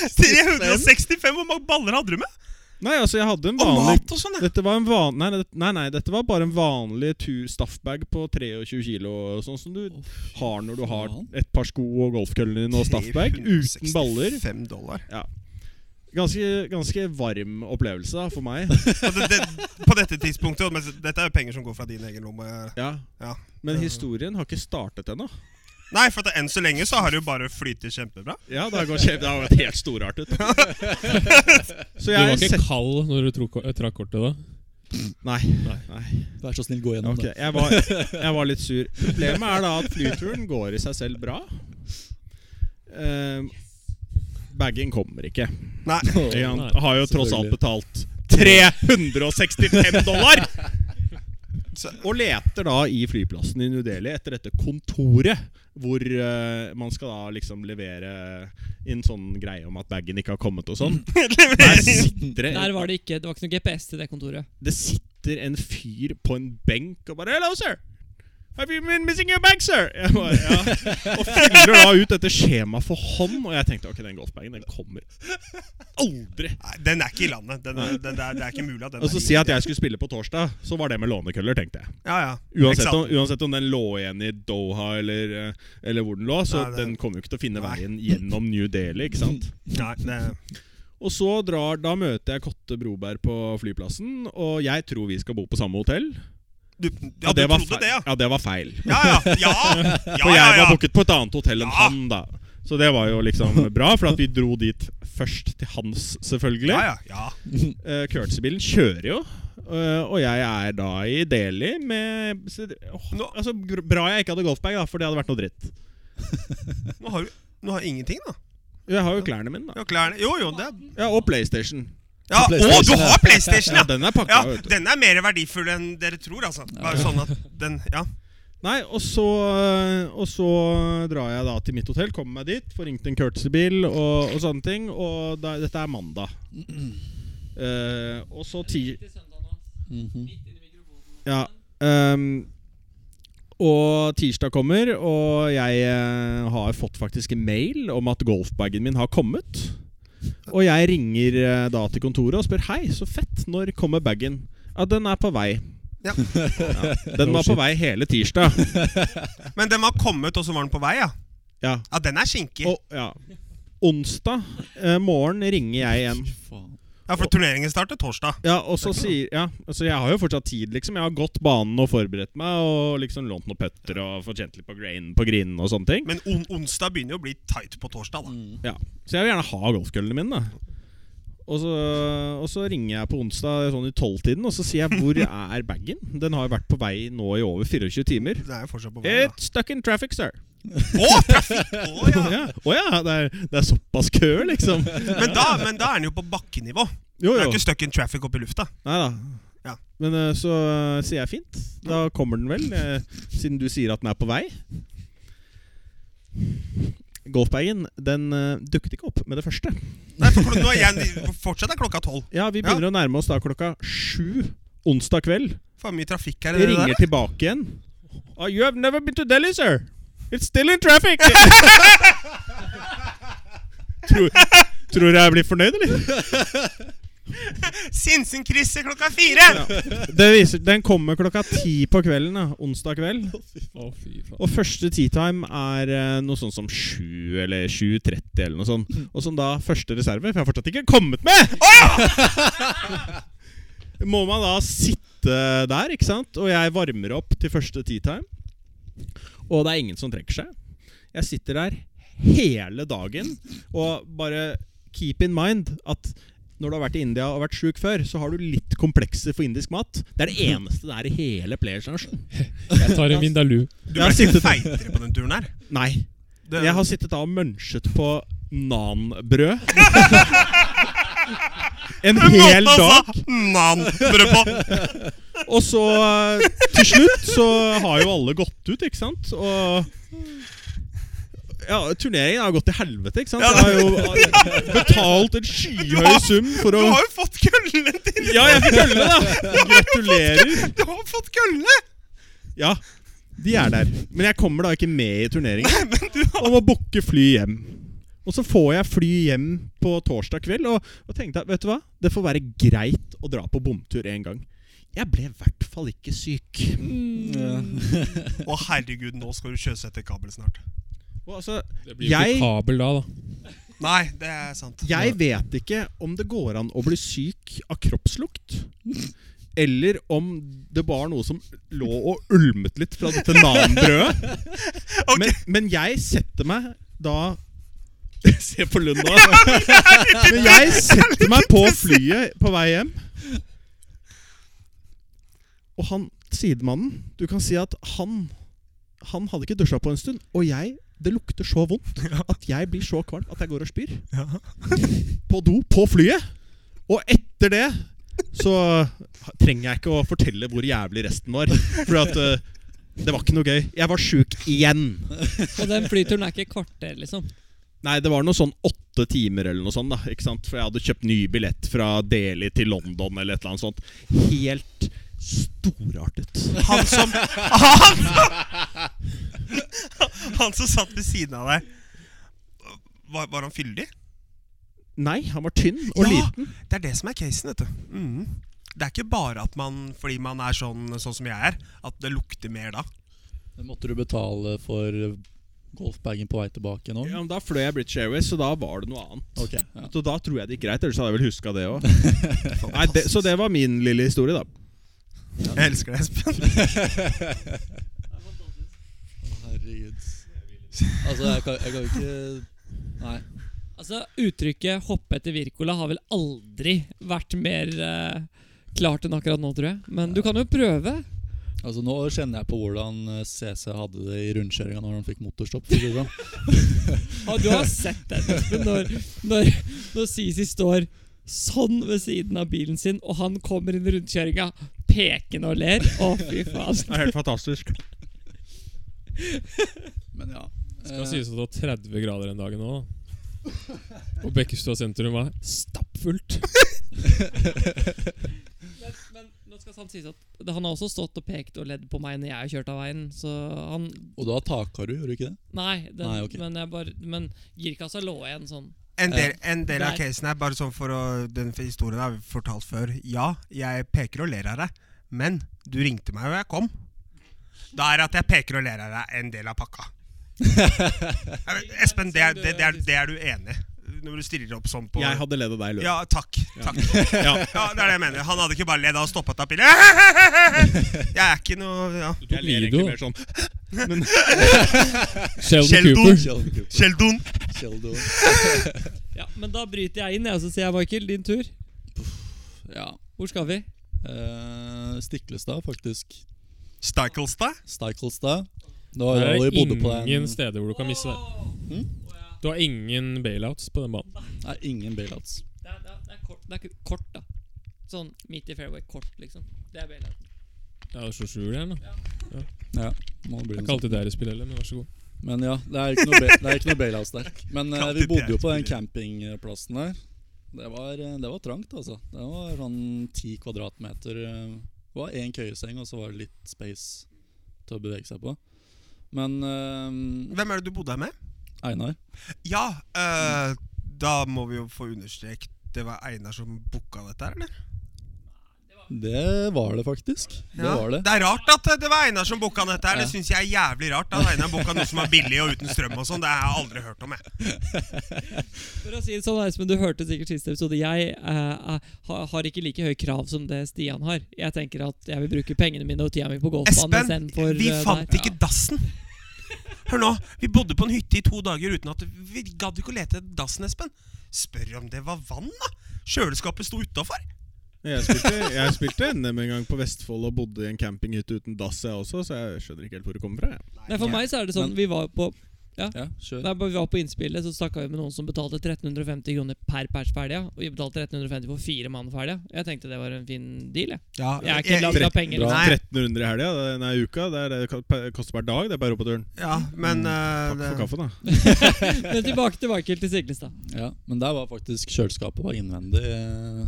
D: 365! Hvor mange baller hadde du med?
B: Nei, altså, jeg hadde en
D: Og
B: vanlig
D: mat og sånn, ja.
B: Dette var en van... Nei, det- nei, nei, dette var bare en vanlig tu- staffbag på 23 kilo, sånn som du har når du har
F: faen.
B: et par sko og golfkøllene dine og staffbag, uten baller.
D: 365 dollar.
B: Ganske, ganske varm opplevelse da, for meg.
D: Og det, det, på dette tidspunktet men Dette er jo penger som går fra din egen lomme.
B: Ja.
D: Ja.
B: Men historien har ikke startet ennå.
D: Nei, for at enn så lenge så har det jo bare flytet kjempebra.
B: Ja, det har gått kjempe- det har vært helt storartet. Så
E: Du var
B: jeg
E: ikke
B: set...
E: kald når du tro- trakk kortet da?
B: Nei. nei.
F: Vær så snill, gå gjennom
B: Ok, jeg var, jeg var litt sur. Problemet er da at flyturen går i seg selv bra. Ehm, Bagen kommer ikke.
D: Nei,
F: det.
B: Ikke sant?
E: nei,
B: har jo tross alt
F: selvfølgelig.
B: betalt 365 dollar! Og leter da i flyplassen i New Delhi etter dette kontoret hvor eh, man skal da liksom levere inn sånn greie om at bagen ikke har kommet og sånn. Der sitter det
A: Der var det ikke Det var ikke noe GPS til det kontoret.
B: det sitter en fyr på en benk og bare Hello, sir! Have you been missing your bag, sir? Jeg bare, ja. Og fyller da ut dette skjemaet for hånd, og jeg tenkte ok, den golfbagen den kommer aldri.
D: Nei, den er ikke i landet. Den er, den, det, er, det er ikke mulig at den
B: Og så
D: er
B: si at jeg skulle spille på torsdag, så var det med lånekøller, tenkte jeg.
D: Ja, ja.
B: Uansett
D: Ikke sant?
B: om, uansett om den lå igjen i Doha eller, eh, eller hvor den lå, så
D: Nei, det-
B: den kommer jo ikke til å finne
D: Nei.
B: veien gjennom New Delhi, ikke sant?
D: Nei, det,
B: Og så drar, da møter jeg Kotte Broberg på flyplassen, og jeg tror vi skal bo på samme hotell.
D: du, ja, du
B: var
D: trodde
B: feil.
D: det, ja?
B: ja, det var feil.
D: Ja, ja. ja, ja,
B: For
D: ja,
B: jeg var
D: ja.
B: booket på et annet hotell enn
D: Ja.
B: han, da. Så det var jo liksom bra, for at vi dro dit først til hans, selvfølgelig.
D: Ja, ja, ja.
B: Eh, Curtsy-bilen kjører jo. eh, og jeg er da i Delhi med så- åh,
D: Nå-
B: altså, gr- Bra jeg ikke hadde golfbag, da, for det hadde vært noe dritt.
D: Nå har du nå har jeg ingenting, da.
B: Jeg har jo klærne mine, da.
D: Du har klærne Jo, jo, det er
B: Ja, Og PlayStation.
D: Ja, Å, du
F: PlayStation, ja.
D: har PlayStation,
B: Ja,
D: ja!
B: den er pakka,
D: Ja,
B: vet du.
D: Den er mer verdifull enn dere tror, altså. Bare sånn at den Ja.
B: Nei, og så, og så drar jeg da til mitt hotell, kommer meg dit, får ringt en courtesy-bil og, og sånne ting. Og da, dette er mandag. Eh, og så ti...
F: Mhm.
B: Ja. ehm, og tirsdag kommer, og jeg eh, har fått faktisk en mail om at golfbagen min har kommet. Og jeg ringer eh, da til kontoret og spør Hei, så fett, når kommer bagen? Ja, den er på vei.
D: Ja.
B: Ja, Den var på vei hele tirsdag.
D: Men den var kommet, og så var den på vei, ja.
B: Ja.
D: Ja, den er skinkig.
B: Og, ja. Onsdag eh, morgen ringer jeg igjen.
F: Fy faen.
D: Ja, For turneringen starter torsdag.
B: Ja, og så sier ja, altså Jeg har jo fortsatt tid, liksom. Jeg har gått banen og forberedt meg. Og liksom lånt noen putter og fortjent litt på grain på grinen og sånne ting.
D: Men on onsdag begynner jo å bli tight på torsdag, da.
F: Mm.
B: Ja. Så jeg vil gjerne ha golfkøllene mine, da. Og så, og så ringer jeg på onsdag sånn i tolvtiden og så sier jeg hvor er bagen? Den har jo vært på vei nå i over 24 timer.
D: Den er jo fortsatt på vei. da.
B: It's stuck in traffic, sir.
D: Å, trafikk! Å,
B: Å
D: ja.
B: ja, Å ja det, er, det er såpass kø, liksom.
D: Men da, men da er den jo på bakkenivå.
B: Jo,
D: Den er
B: jo.
D: ikke stuck in traffic oppe i lufta.
B: Nei da.
D: Ja.
B: Men eh, så eh, sier jeg fint. Da kommer den vel, eh, siden du sier at den er på vei. Golfbagen den eh, dukket ikke opp med det første.
D: Nei, for klo- nå er jeg, Fortsatt er klokka tolv.
B: Ja, Vi begynner å nærme oss da klokka sju onsdag kveld.
D: Faen mye trafikk her.
B: Jeg
D: det der.
B: ringer tilbake igjen. Oh, you have never been to Delhi, sir. It's still in traffic. tror, tror jeg blir fornøyd, eller?
D: Sinsenkrysset klokka fire!
B: Det viser, den kommer klokka ti på kvelden. Da, onsdag kveld.
E: Å, fy faen.
B: Og første tea time er eh, noe sånn som 7 eller 7.30 eller noe sånt.
D: Mm.
B: Og som da første reserve, for jeg har fortsatt ikke kommet med! Må man da sitte der, ikke sant? Og jeg varmer opp til første tea time. Og det er ingen som trekker seg. Jeg sitter der hele dagen og bare keep in mind at når du har vært i India og vært sjuk før, så har du litt komplekser for indisk mat. Det er det eneste det er i hele Players Nation.
E: Jeg tar en Vindaloo.
D: Du
B: Jeg har
D: ble ikke
B: sittet-
D: feitere på den turen her.
B: Nei,
D: Det,
B: jeg har sittet da og munchet på nanbrød. en
D: Den måten
B: hel
D: han sa
B: dag.
D: Nanbrød på!
B: Og så eh, til slutt så har jo alle gått ut, ikke sant? Og ja, Turneringen har gått til helvete. ikke sant? Jeg har jo eh, betalt en
D: Du
B: skyhøy
D: har-
B: sum for
D: Du
B: å
D: har jo fått køll! køllen din!
B: Ja, jeg fikk kølle, da! Gratulerer.
D: Du har fått kølle!
B: Ja, de er der. Men jeg kommer da ikke med i turneringen. Og må booke fly hjem. Og så får jeg fly hjem på torsdag kveld og, og tenkte at vet du hva, det får være greit å dra på bomtur en gang. Jeg ble i hvert fall ikke syk.
F: Ja.
D: Å, herregud, nå skal du sjøsette kabel snart.
B: Og altså,
E: Det blir jo
B: Jeg-
E: ikke kabel da, da.
D: Nei, det er sant.
B: jeg vet ikke om det går an å bli syk av kroppslukt. Eller om det var noe som lå og ulmet litt fra dette nanbrødet.
D: Ok.
B: Men, men jeg setter meg da Se på Lund nå. Men jeg setter meg på flyet på vei hjem. Og han sidemannen Du kan si at han Han hadde ikke dusja på en stund. Og jeg Det lukter så vondt at jeg blir så kvalm at jeg går og spyr. På do på flyet. Og etter det så trenger jeg ikke å fortelle hvor jævlig resten var. For at eh, det var ikke noe gøy. Jeg var sjuk igjen.
A: Og den flyturen er ikke et kvarter, liksom.
B: Nei, det var noe sånn åtte timer eller noe sånt. da, ikke sant? For jeg hadde kjøpt ny billett fra Delhi til London eller et eller annet sånt. Helt storartet.
D: Han som Han, han som satt ved siden av deg Var, var han fyldig?
B: Nei, han var tynn
D: Ja.
B: og liten.
D: Det er det som er casen, vet du. Mhm. Det er ikke bare at man, fordi man er sånn, sånn som jeg er, at det lukter mer da.
F: Men Måtte du betale for golfbagen på vei tilbake nå?
B: Ja, men Da fløy jeg British Airways, så da var det noe annet.
F: Ok, ja.
B: Så da tror jeg det gikk greit, ellers hadde jeg vel huska det òg. Så det var min lille historie, da.
D: Jeg elsker deg, Espen.
F: Herregud. Altså, jeg kan, jeg kan jo ikke Nei.
A: Altså, Uttrykket 'hoppe etter Wirkola' har vel aldri vært mer eh, klart enn akkurat nå, tror jeg. Men du kan jo prøve.
F: Altså, nå kjenner jeg på hvordan eh, CC hadde det i rundkjøringa når han fikk motorstopp. for å si det sånn.
A: Og du har sett den Espen, når, når, når Sisi står sånn ved siden av bilen sin, og han kommer inn i rundkjøringa pekende og ler. Å, fy faen.
B: Det er helt fantastisk.
F: Men ja.
E: Det kan
F: eh,
E: sies at det var 30 grader den dagen òg. Og Bekkestua sentrum var stappfullt.
A: Men, men nå skal sant sies at det- han har også stått og pekt og ledd på meg når jeg har kjørt av veien, så han
F: Og da taka du, gjorde du ikke det?
A: Nei, den,
F: Nei, ok.
A: men jeg bare Men girkassa lå igjen sånn.
D: En del, en del av
A: Nei.
D: casen her, bare sånn for å, den historien har vi fortalt før. Ja, jeg peker og ler av deg, men du ringte meg og jeg kom. Da er det at jeg peker og ler av deg en del av pakka. Ja, men Espen, det er, det, det er, det er du enig i? Når du stiller opp sånn på
B: Jeg hadde ledd av deg i løpet.
D: Ja, takk. takk. Ja. Det er det jeg mener. Han hadde ikke bare ledd av og stoppa av pilen. Jeg er ikke noe ja.
E: Du
B: Jeg
E: tok
B: ler
E: Lido.
B: egentlig mer sånn
E: Sheldon,
D: Sheldon.
E: Cooper.
F: Sheldon Cooper.
D: Sheldon.
F: Sheldon.
A: Ja, Men da bryter jeg inn, jeg, og så sier jeg, Michael, din tur.
F: Ja.
A: Hvor skal vi?
F: Eh, Stiklestad, faktisk.
D: Stiklestad?
F: Stiklestad. Det var
E: Det
F: da vi
E: er
F: bodde på den
E: ingen steder hvor du kan miste det. Du har ingen bailouts på den banen.
F: Nei, ingen bailouts.
A: Det er, det, er, det, er kort, det er ikke kort, da. Sånn midt i fairway, kort, liksom. Det er bailouten.
E: Ja, du slår sju igjen, da.
F: Ja, må bli noe
E: Det er ikke
F: sånt.
E: alltid der i spill heller, men vær så god.
F: Men ja, det er ikke noe, ba- det er ikke noe bailouts der. Men eh, vi
D: Alltid
F: bodde jo på den
D: det.
F: campingplassen der. Det var, eh, det var trangt, altså. Det var sånn ti kvadratmeter. eh, Det var én køyeseng, og så var det litt space til å bevege seg på. Men eh,
D: Hvem er det du bodde her med?
F: Einar
D: Ja, eh, da må vi jo få understreket det var Einar som booka dette her, eller?
F: Det var det faktisk. Det
D: Ja.
F: var det.
D: det er rart at eh, det var Einar som booka dette her. Det syns jeg er jævlig rart. At Einar booka noe som er billig og uten strøm og sånn. Det har jeg aldri hørt om, jeg.
A: For å si det sånn, Espen, du hørte sikkert siste episode. Jeg eh, er- ha, har ikke like høye krav som det Stian har. Jeg tenker at jeg vil bruke pengene mine og tida mi på golfbanen
D: Espen,
A: istedenfor
D: vi
A: eh,
D: fant
A: der.
D: ikke dassen. Hør nå, vi bodde på en hytte i to dager uten at Vi gadd ikke å lete etter dassen, Espen. Spør om det var vann, da. Kjøleskapet sto utafor.
B: Jeg spilte, jeg spilte NM en gang på Vestfold og bodde i en campinghytte uten dass, jeg også, så jeg skjønner ikke helt hvor det kommer fra. jeg.
A: Nei, for meg så er det sånn,
F: Men-
A: vi var på
F: Ja, kjør.
A: Nei, bare vi var på innspillet, så snakka vi med noen som betalte 1350 kroner per pers per helga. Og vi betalte 1350 for fire mann for helga. Jeg tenkte det var en fin deal, jeg. Jeg er ikke lagd av penger.
F: Bra.
A: liksom.
D: Nei.
B: 1300 i helga, det- nei, uka. Det er det det koster per dag, det er på europaturen.
D: Ja, men
F: Mm.
D: eh,
B: Takk for
D: det,
B: kaffen, da.
A: Men tilbake til Michael til Siglestad.
F: Ja, men der var faktisk kjøleskapet var innvendig. eh,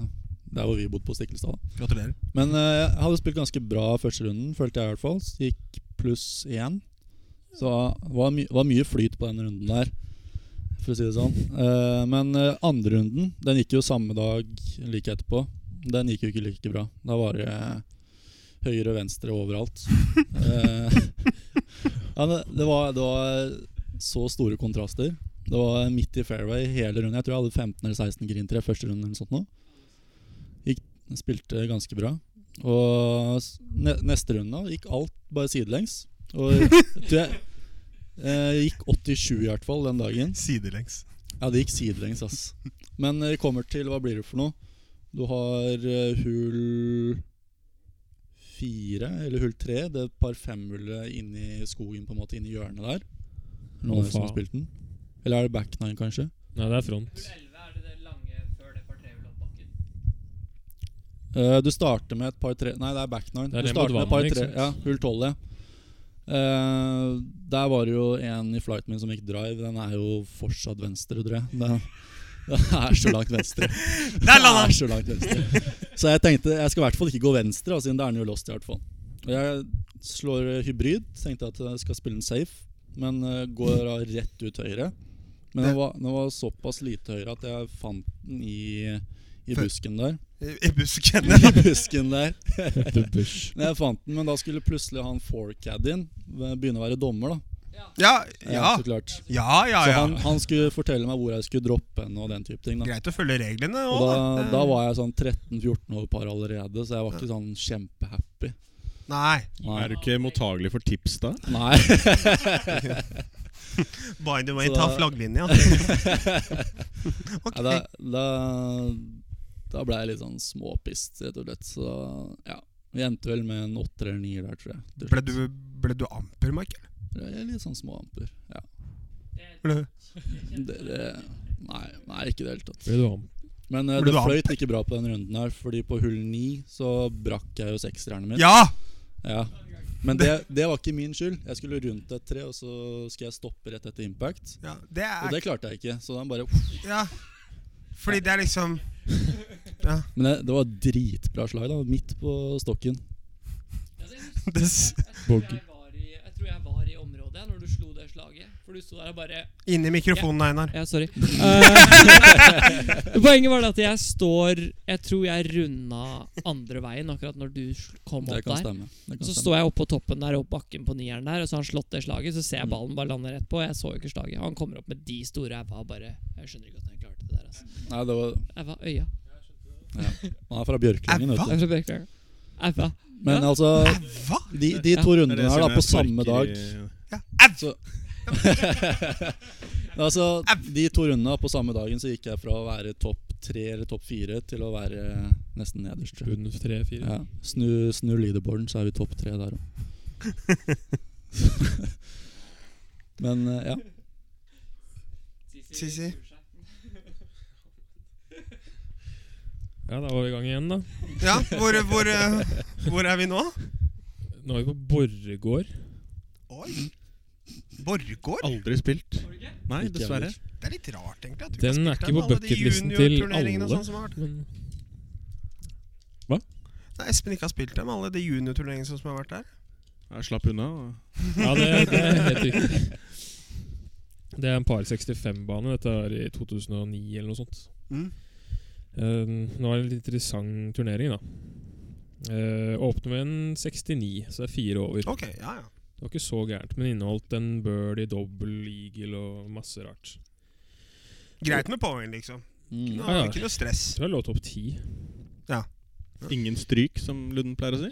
F: Der hvor vi bodde på Stiklestad. da.
D: Gratulerer.
F: Men eh, jeg hadde spilt ganske bra første runden, følte jeg i hvert fall. Gikk pluss én. Så det var, my var mye flyt på den runden der, for å si det sånn. Eh, men eh, andre runden, den gikk jo samme dag like etterpå. Den gikk jo ikke like bra. Da var det eh, høyre og venstre overalt. Eh, ja, det, det, var, det var så store kontraster. Det var midt i fairway hele runden. Jeg tror jeg hadde 15 eller 16 grintreff første runden. eller noe sånt nå. Gikk, spilte ganske bra. Og s- ne neste runde da, gikk alt bare sidelengs. Og jeg tror jeg eh, gikk 87 i hvert fall den dagen.
D: Sidelengs.
F: Ja, det gikk sidelengs, ass. Men når det kommer til Hva blir det for noe? Du har eh, hull fire, eller hull tre. Det par femhullet inni skogen, på en måte, inni hjørnet der. Noen av
E: Å,
F: dere som har sånn
E: faen.
F: spilt den? Eller er det back nine, kanskje?
E: Nei, det er front.
F: Eh, du starter med et par tre Nei, det er back nine.
E: Det er
F: du
E: den
F: starter med
E: mot
F: et par
E: vannet,
F: tre
E: ikke sant?
F: Ja, hull tolv, ja. Eh, der var det jo en i flighten min som gikk drive. Den er jo fortsatt venstre, tror jeg. Den, den er så langt venstre.
D: Der landa
F: Det er så langt venstre. Så jeg tenkte jeg skal i hvert fall ikke gå venstre, da, siden det er den jo lost i hvert fall. Og jeg slår eh, hybrid, tenkte at jeg skal spille den safe, men eh, går da rett ut høyre. Men den var, den var såpass lite høyre at jeg fant den i, i busken der.
D: den! I busken.
F: I busken der.
E: The Bush.
F: Nei, Jeg fant den, men da skulle plutselig han forecaddien begynne å være dommer, da.
D: Ja,
F: Eh,
D: ja.
F: Så klart.
D: Ja, ja,
F: Så
D: ja.
F: han, han skulle fortelle meg hvor jeg skulle droppe henne og den type ting. da
D: Greit å følge reglene
F: Og
D: òg,
F: da, da var jeg sånn 13-14 år par allerede, så jeg var ikke sånn kjempehappy.
D: Nei.
F: Nei.
B: Er du ikke mottagelig for tips da?
F: Nei.
D: By the way,
F: Så
D: ta altså.
F: da-
D: flagglinja. ok.
F: da, da, da ble jeg litt sånn småpist, rett og slett. Så ja. Vi endte vel med en åtter eller nier der, tror jeg. til
D: Ble,
F: slutt.
D: du, ble du amper, Michael?
F: Jeg er Litt sånn småamper. Ja.
D: Ble,
F: Dere Nei, nei, ikke i det hele tatt.
E: Ble du ham?
F: Men eh,
D: Ble
F: det
D: du
F: fløyt ikke bra på den runden her, Fordi på hull ni så brakk jeg jo sekstjernet mitt.
D: ja!
F: Ja. Men det, det var ikke min skyld. Jeg skulle rundt et tre, og så skulle jeg stoppe rett etter impact.
D: ja! Det
F: Og
D: er
F: det klarte jeg ikke, så den bare
D: Ja. Fordi det er liksom
F: Men det, det var dritbra slag, da. Midt på stokken.
D: det, s-
E: Bogey.
A: Jeg tror jeg var i området når du slo det slaget. For du sto der og bare
D: Inni mikrofonen, Einar.
A: Ja, sorry. Eh, poenget var det at jeg står Jeg tror jeg runda andre veien akkurat når du sl- kom
F: Det
A: opp
F: kan
A: der.
F: stemme. Det
A: Så
F: kan stemme.
A: står jeg oppe på toppen der opp bakken på nieren der, og så har han slått det slaget. Så
F: Mm.
A: ser jeg ballen bare lande rett på. Jeg så jo ikke slaget. Han kommer opp med de store ræva og bare Jeg skjønner ikke hvordan jeg klarte det der, altså.
F: Nei, det var,
A: Æva, øya.
F: han er fra Bjørklingen,
D: Æva?
F: vet
A: Det
F: du.
A: er fra Bjørkberg. Æva.
F: Men
A: Ja.
F: altså,
D: Hva?
F: de, de to
B: Det
F: rundene
B: er det
F: her da,
B: som
F: på
B: jeg
F: samme dag
B: sparker i-
F: så, Altså, de to rundene da, på samme dagen så gikk jeg fra å være topp tre eller topp fire til å være nesten nederst. tror jeg.
E: Bunn tre-fire.
F: Ja. Snu, snu leaderboarden, så er vi topp tre der òg. Men eh, ja.
D: Sisi?
E: Ja, da var vi i gang igjen, da.
D: Ja, hvor, hvor, eh, hvor er vi nå?
E: Nå er vi på Borregaard.
D: Oi. Borregaard?
B: Aldri spilt. Nei,
F: Ikke jeg
B: dessverre.
F: heller.
D: Det er litt rart, egentlig. At du
E: Den
D: har
E: er
D: spilt
E: ikke på
D: alle de
E: bucketlisten til
D: juniorturneringene og
E: alle.
D: sånn som har vært.
E: Men
D: Nei, Espen ikke har spilt dem, alle de juniorturneringene som har vært der.
B: Jeg slapp unna.
E: ja, det, det er helt riktig. Det er en par 65-bane. Dette er i 2009 eller noe sånt.
D: Mm.
E: Eh, nå er det en litt interessant turnering, da. Eh, åpner med en 69, så det er fire over.
D: Ok, ja, ja.
E: Det var ikke så gærent, men inneholdt en birdie, double, eagle og masse rart.
D: Greit med poeng, liksom.
F: Mm.
D: Nå,
E: Ja, ja.
D: Ikke noe stress.
E: Jeg tror jeg lå topp ti.
B: og Ingen stryk, som Lunden pleier å si.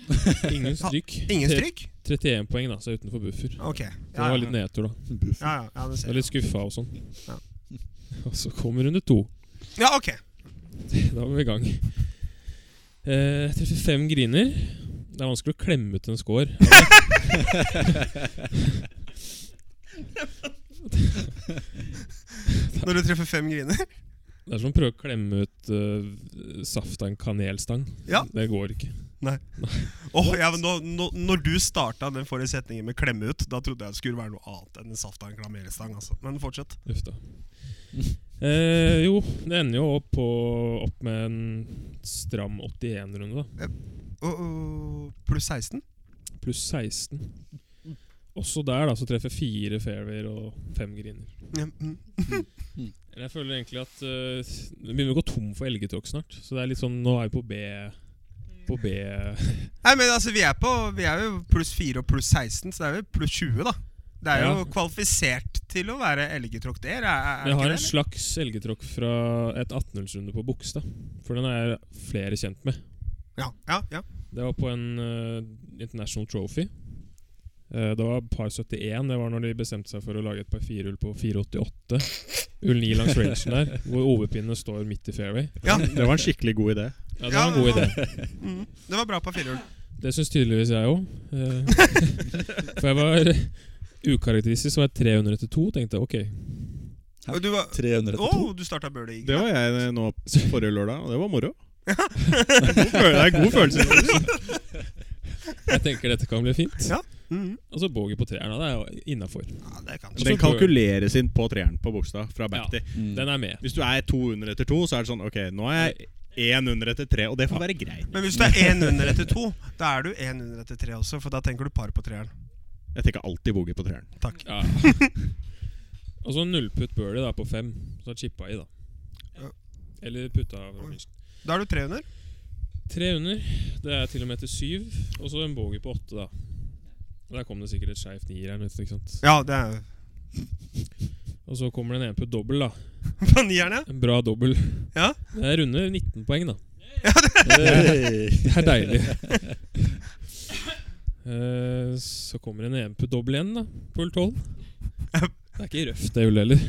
E: Ingen stryk.
D: Ingen stryk?
E: Tre- 31 poeng, da, så jeg er utenfor buffer.
D: Ok.
E: Det
D: Ja,
E: var
D: ja,
E: litt nedtur, da.
D: ja, ja det
E: Jeg
D: ser
E: var
D: jeg.
E: litt skuffa og sånn.
D: Ja.
E: Og så kommer runde to.
D: Ja, ok.
E: Da var vi i gang. Eh, treffer fem griner. Det er vanskelig å klemme ut en score.
D: Når du treffer fem griner.
E: Det er som å prøve å klemme ut eh, saft av en kanelstang.
D: Ja.
E: Det går ikke.
D: Åh, ja, men nå, nå, når du starta den forrige setningen med 'klemme ut', da trodde jeg det skulle være noe annet enn en saft av en klamerestang. Altså. Men fortsett.
E: Uff da. Eh, jo, det ender jo opp, på, opp med en stram 81-runde, da.
D: Og, og pluss 16?
E: Pluss 16. Også der da, så treffer fire fairwayer og fem griner.
D: Ja, mm.
E: Men Jeg føler egentlig at eh, det begynner å gå tom for elgetråkk snart. Så det er litt sånn, nå er vi på B På B
D: Nei, men altså, vi er, på, vi er jo pluss 4 og pluss 16, så det er jo pluss 20, da. Det er jo
E: Ja.
D: kvalifisert til å være elgetråkk der. Er, er,
E: Jeg
D: ikke
E: har
D: det,
E: en slags elgetråkk fra et 1800-runde på Bogstad. For den er flere kjent med.
D: eller? Ja, ja, ja.
E: Det var på en eh, International Trophy. Eh, det var par 71. Det var når de bestemte seg for å lage et par firehull på 488. Hull 9 langs rangen der, hvor overpinnene står midt i fairway.
D: ja.
B: Det var en skikkelig god idé.
E: Ja, Det var en god idé.
D: Mm, det var bra på firehjul.
E: Det syns tydeligvis jeg òg. for jeg var ukarakteristisk, så var jeg 300 til 2. Tenkte jeg, ok.
D: Og du var
F: 300
D: Å,
F: til 2.
D: du starta Birdie Eagle.
B: Det var jeg eh, nå forrige lørdag, og det var moro. God følelse- Det er en god følelse.
E: Jeg tenker dette kan bli fint.
D: Ja. Mm.
E: Og så bogey på treeren. da, Det er jo innafor.
D: Ja, det kan
B: Den kalkuleres inn på treeren på Bogstad fra back
E: Ja.
B: til.
F: Mm.
E: Den er med.
B: Hvis du er 200 etter 2, så er det sånn Ok, nå er
D: Eh,
B: jeg 100 etter 3, og det får være greit.
D: Men hvis du er én under etter to, da er du én under etter tre også, for da tenker du par på treeren.
B: Jeg tenker alltid boogie på treeren.
D: Takk.
E: Ja. Og så nullputt birdie da, på fem. Så chippa i, da.
D: Ja.
E: Eller putta av Robinson.
D: Da er du tre under.
E: Tre under. Det er til og med til syv. Og så en bogey på åtte, da. Og Der kom det sikkert et skeivt nier her. vet du, ikke sant?
D: Ja, det er
E: Og så kommer det en enputt dobbel, da.
D: På nieren, ja.
E: En bra dobbel.
D: Ja.
E: Det er runde 19 poeng, da.
F: Hey.
E: Det er deilig. Eh, så kommer en EMP dobbel igjen, da. På hull 12. Det er ikke røft, det hullet heller.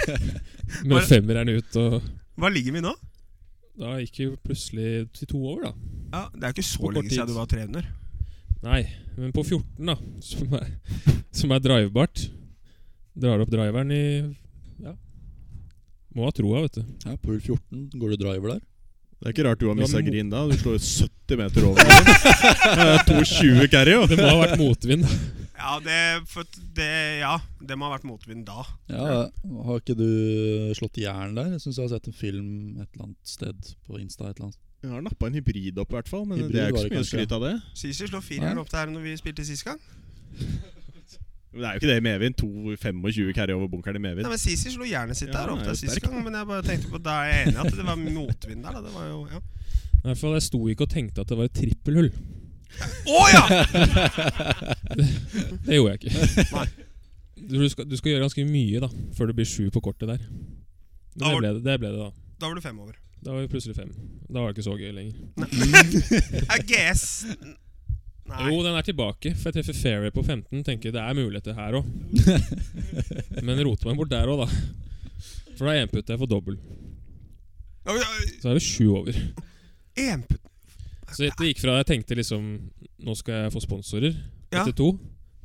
E: Men femmeren ut, og
D: Hva ligger vi nå?
E: da gikk vi plutselig til to over, da.
D: Ja, Det er ikke så
E: På kort
D: lenge siden
E: tid.
D: du var tre under.
E: Nei, men på 14, da, som er, som er drivbart Drar opp driveren i Ja. Må ha troa, vet du.
F: Ja, på hull 14 går det driver der.
B: Det er ikke rart du har
E: Det
B: mista
E: var mo-
B: grin da. Du slår jo 70 meter over. Det er 2,20 carry, jo.
E: Det må ha vært motvind. da.
D: Ja, det, for det, ja, det må ha vært motvind da.
F: Ja, Har ikke du slått jern der? Jeg syns jeg har sett en film et eller annet sted på Insta. et eller annet
B: Jeg har nappa en hybrid opp, i hvert fall. Men
F: Hybrid
B: det er jo
F: var
B: ikke så
F: det
B: mye å
F: kanskje,
B: skryte av det.
D: Sisi slo fireren opp der når vi spilte sist gang.
B: Men det er jo ikke det i Medvind. 2,25 carry over bunkeren i
D: Nei,
B: Medvind.
D: men Sisi slo jernet sitt
B: Ja,
D: der opp
B: han
D: der
B: er jo
D: sist
B: sterk.
D: gang, men jeg bare tenkte på da er jeg enig i at det var motvind der. Da. Det var jo, ja.
E: I hvert fall, Jeg sto ikke og tenkte at det var et trippelhull.
D: Å ja!
E: Det gjorde jeg ikke. Du skal, du skal gjøre ganske mye da før det blir sju på kortet der. Men
D: Da
E: det
D: var-
E: ble det, det ble det, da.
D: Da var du fem over.
E: Da var vi plutselig fem. Da var det ikke så gøy lenger.
D: Er GS Nei.
E: Jo, den er tilbake, for jeg treffer fairway på 15. Tenker det er muligheter her òg. Men roter meg bort der òg, da. For da enputter jeg for dobbel.
D: Ja, men,
E: Så er vi sju over.
D: ja, en putt-
E: Så det gikk fra jeg tenkte liksom Nå skal jeg få sponsorer
D: Ja.
E: etter to,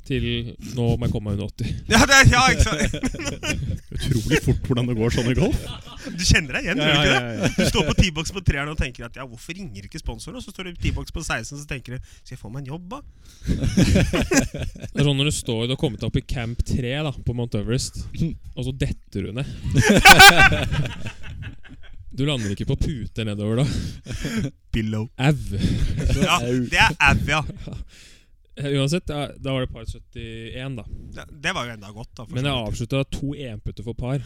E: til nå må jeg komme meg under 80.
D: Ja, det er, ja, ikke sant?
B: Utrolig fort hvordan det går sånn i golf.
D: Du kjenner deg igjen,
B: Ja,
D: gjør du
B: ja,
D: ikke det?
B: ja, ja.
D: Du står på T-box på treeren og tenker at ja, hvorfor ringer ikke sponsoren? Og så står du på T-box på 16 og så tenker du skal jeg få meg en jobb, da?
E: Det er sånn når du står du har kommet opp i Camp 3 da på Mount Everest, og så detter du ned. Du lander ikke på puter nedover, da.
D: Billow.
E: Au.
D: Ja, det er av, ja.
E: Uansett, da da var det par 71, da.
D: Ja, Det var jo enda godt, da. for
E: Men
D: så
E: jeg
D: vidt.
E: avslutta to enputter for par.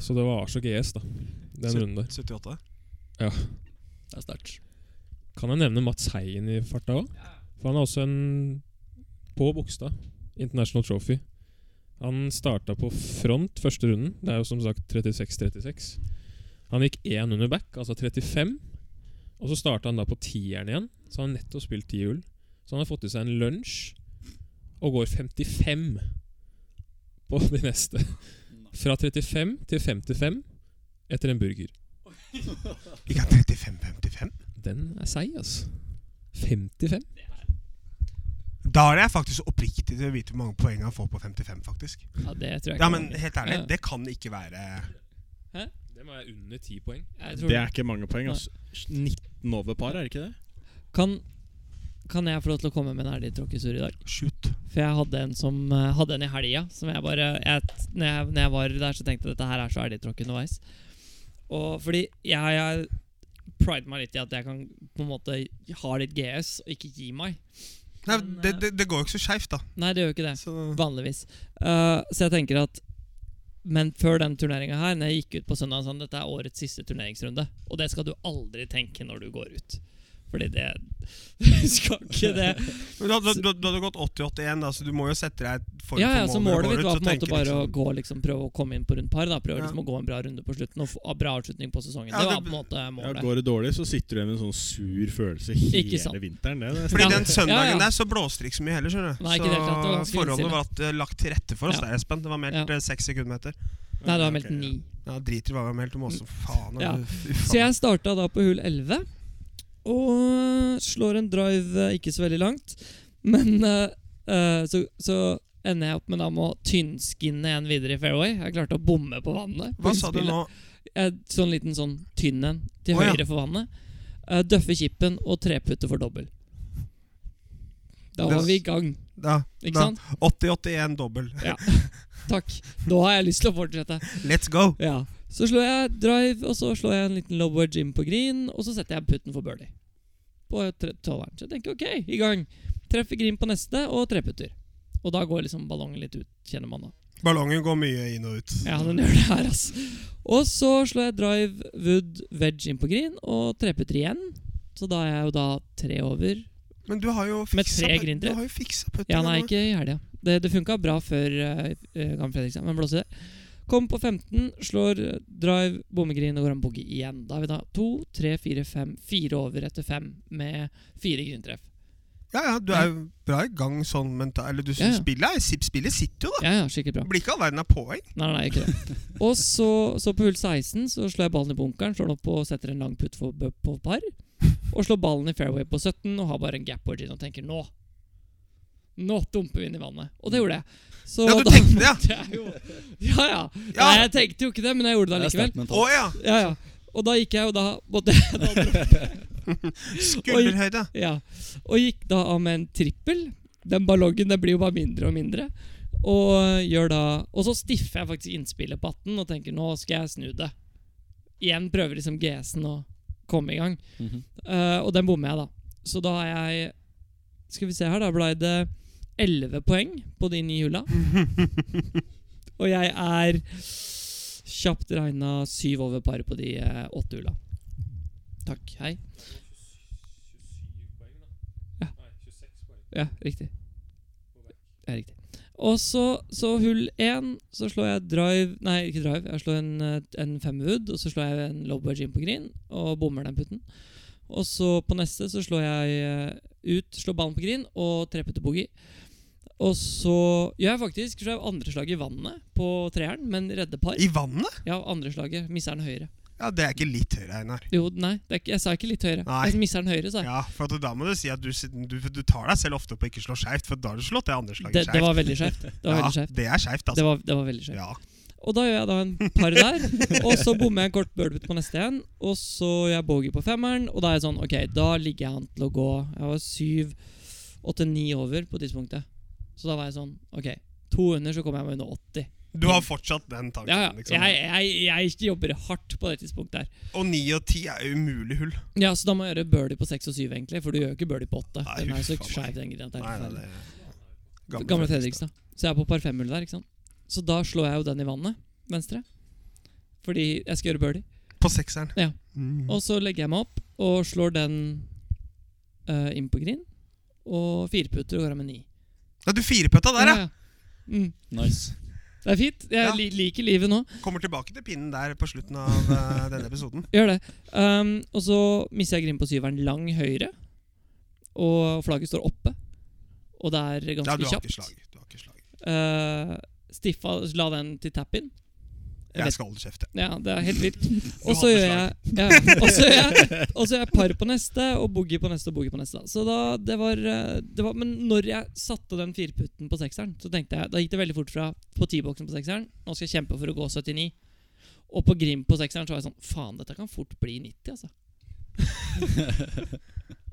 E: Så det var så GS, da. Den
D: Sytt-
E: runden der.
D: 78.
F: Det er sterkt.
E: Kan jeg nevne Mats Heien i farta òg? For han er også en På Bogstad. International Trophy. Han starta på front første runden. Det er jo som sagt 36-36. Han gikk én under back, altså 35. Og så starta han da på tieren igjen. Så han har nettopp spilt ti hull. Så han har fått i seg en lunsj og går 55 på de neste. Fra 35 til 55 etter en burger.
D: Ikke 35-55?
E: Den er seig, altså. 55?
D: Da er jeg faktisk oppriktig til å vite hvor mange poeng han får på 55, faktisk.
A: Ja, det tror jeg ikke.
D: Ja, men helt ærlig,
A: Ja.
D: det kan ikke være
E: Det må være under ti poeng.
A: jeg tror
B: Det er ikke mange poeng. altså. ass. 19 over par, er det ikke det?
A: Kan, kan jeg få lov til å komme med en ærlig tråkkesur i dag?
D: Shoot.
A: For jeg hadde en, som, eh, hadde en i helga som jeg bare jeg, når, jeg, når jeg var der, så tenkte jeg dette her er så elgtråkk underveis. Og fordi jeg, jeg prider meg litt i at jeg kan på en måte ha litt GS og ikke gi meg.
D: Nei, det, det, det går jo ikke så skeivt, da.
A: Nei, det gjør jo ikke det.
D: Så,
A: Vanligvis. Eh, så jeg tenker at Men før den turneringa her, når jeg gikk ut på søndag, sånn, dette er årets siste turneringsrunde. Og det skal du aldri tenke når du går ut. Fordi det skal ikke det.
D: men du, hadde, du, du hadde gått 80-81, da, så du må jo sette deg et form
A: Ja, ja,
D: for
A: så
D: mål når du
A: Målet mitt
D: går ut, så
A: var på en måte
D: tenker
A: bare
D: liksom-
A: å gå liksom, prøve å komme inn på rundt par. da Prøve
D: Ja.
A: liksom å gå en bra runde på slutten og få ha bra avslutning på sesongen.
D: Ja,
A: det var
D: det-
A: på en måte
B: Ja,
A: målet.
B: går det dårlig, så sitter du igjen med en sånn sur følelse
A: Ikke sant.
B: hele vinteren. Det, det.
D: Fordi
A: Ja.
D: den søndagen
A: Ja, ja.
D: der så blåste det ikke så mye heller, skjønner du.
A: Nei,
D: så
A: ikke det hele tatt, det var ganske
D: forholdene var
A: vindstille.
D: at, eh, lagt til rette for oss
A: Ja.
D: der, Espen. Det var meldt
A: Ja.
D: eh, seks sekundmeter.
A: Nei, det var meldt
B: Ok, ja.
A: ni.
D: Ja, driter i hva vi har meldt om også, faen.
A: Ja.
D: du- fy faen.
A: Så jeg starta da på hull 11 og slår en drive eh, ikke så veldig langt. Men eh, eh, så, så ender jeg opp med da med å tynnskinne en videre i fairway. Jeg klarte å bomme på vannet. på
D: Hva sa du
A: innspillet.
D: nå?
A: Eh, sånn liten sånn tynn en til
D: Å, ja.
A: høyre for vannet. Uh, Døffe chipen og treputte for dobbel. Da
D: Det-
A: var vi i gang,
D: Da,
A: ikke
D: da.
A: sant?
D: 80-81 dobbel.
A: Takk. Nå har jeg lyst til å fortsette.
D: Let's go!
A: Ja. Så slår jeg drive, og så slår jeg en liten low wedge inn på green, og så setter jeg putten for birdie. På tre- tolveren. Så jeg tenker ok, i gang. Treffer green på neste, og treputter. Og da går liksom ballongen litt ut, kjenner man da.
D: Ballongen går mye inn og ut.
A: Ja, den gjør det her, ass. Og så slår jeg drive, wood, wedge inn på green, og treputter igjen. Så da er jeg jo da tre over.
D: Men du har jo
A: Med
D: fiksa
A: tre
D: put-
A: grindere.
D: Du har jo fiksa putten.
A: Ja, nei,
D: nå.
A: ikke i helga. Det, det funka bra før uh, Gamle Fredrikstad, men blåser det. Kom på 15, slår eh, drive, bommegreen og går en boogie igjen. Da har vi da to, tre, fire, fem, fire over etter fem med fire grintreff.
D: Ja, ja, du er jo bra i gang sånn mentalt. Eller du
A: Ja, ja.
D: spiller, er- spillet sitter jo, da.
A: Ja, ja, skikkelig bra.
D: Det blir ikke all verden av poeng.
A: Nei, nei, nei, ikke det. Og så, så på hull 16 så slår jeg ballen i bunkeren, slår den opp og setter en lang putt for, på par. Og slår ballen i fairway på 17 og har bare en gap origin og tenker nå Nå dumper vi inn i vannet. Og det gjorde jeg. Så
D: Ja, du
A: da
D: tenkte det, ja.
A: måtte jeg jo Ja, ja.
D: Ja.
A: Nei, jeg tenkte jo ikke det, men jeg gjorde det allikevel.
D: Å ja!
A: Ja, ja. Og da gikk jeg jo da måtte jeg da
D: Skulderhøyde.
A: Ja, og gikk da av med en trippel. Den ballongen den blir jo bare mindre og mindre. Og gjør da Og så stiffer jeg faktisk innspillet på 18 og tenker nå skal jeg snu det. Igjen prøver liksom GS-en å komme i gang.
D: Mhm.
A: Eh, og den bommer jeg, da. Så da har jeg Skal vi se her, da ble det 11 poeng på de ni hulla. og jeg er kjapt regna syv over par på de eh, åtte hulla. Takk. Hei. Ja, riktig. Ja, riktig. Og så, så hull én, så slår jeg drive Nei, ikke drive. Jeg slår en, eh, en femwood, og så slår jeg en lobberge inn på green og bommer den putten. Og så på neste så slår jeg eh, ut, slår ballen på green og treputter boogie. Og så gjør jeg faktisk slår jeg andre slag i vannet på treeren, men redder par.
D: I vannet?
A: Ja, andre slaget. Misser den høyre.
D: Ja, det er ikke litt høyere, Einar.
A: Jo, nei, det er ikke, jeg sa ikke litt høyre.
D: Nei.
A: Jeg misser den høyre, sa jeg.
D: Ja, for at da må du si at du, sit- du, du tar deg selv ofte på å ikke slå skeivt, for da har du slått det andre
A: det,
D: slaget
A: det
D: skeivt.
A: var veldig skjevt. Det var
D: Ja,
A: veldig skjevt.
D: det er skeivt,
A: Det
D: altså.
A: var, det var veldig skjevt.
D: Ja.
A: Og da gjør jeg da en par der, og så bommer jeg en kort birdie på neste igjen. Og så gjør jeg bogey på femmeren, og da er jeg sånn Ok, da ligger jeg an til å gå Jeg var syv, åtte, ni over på tidspunktet. Så da var jeg sånn Ok, to under, så kommer jeg meg under 80.
D: Du har fortsatt den tanken.
A: Ja, ja.
D: Liksom.
A: Jeg, jeg, jeg jobber hardt på det tidspunktet der.
D: Og 9 og 10 er umulig hull.
A: Ja, så da må jeg gjøre birdie på seks og syv, egentlig, for du gjør jo ikke birdie på åtte.
D: Nei,
A: Den er jo så
D: faen meg.
A: skeiv, den greia der.
D: Nei, nei, det er
A: Gamle Fredrikstad. Så jeg er på par femhull der, ikke sant. Så da slår jeg jo den i vannet, venstre. Fordi jeg skal gjøre birdie.
D: På sekseren.
A: Ja.
D: Mm.
A: Og så legger jeg meg opp og slår den eh, inn på green. Og fireputter og går av med ni.
D: Ja, du firepøtta der, ja!
A: Ja, ja. Mm.
F: Nice.
A: Det er fint. Jeg
D: Ja.
A: li liker livet nå.
D: Kommer tilbake til pinnen der på slutten av eh, denne episoden.
A: Gjør det. Um, og så mister jeg green på syveren lang høyre. Og flagget står oppe. Og det er
D: Ja,
A: ganske
D: du har ikke
A: kjapt.
D: slag. Du har ikke slag.
A: Eh, stiffa la den til tap-in. Jeg vet-
D: Jeg skal holde kjeft, jeg.
A: Ja, det er helt vilt.
D: Du
A: Og så
D: hadde
A: gjør jeg ja, Og så gjør jeg, og så gjør jeg par på neste, og boogie på neste og boogie på neste. Så da, det var, eh, det var Men når jeg satte den firputten på sekseren, så tenkte jeg Da gikk det veldig fort fra på T-boksen på sekseren. Nå skal jeg kjempe for å gå 79. Og på Grim på sekseren så var jeg sånn Faen, dette kan fort bli 90, altså.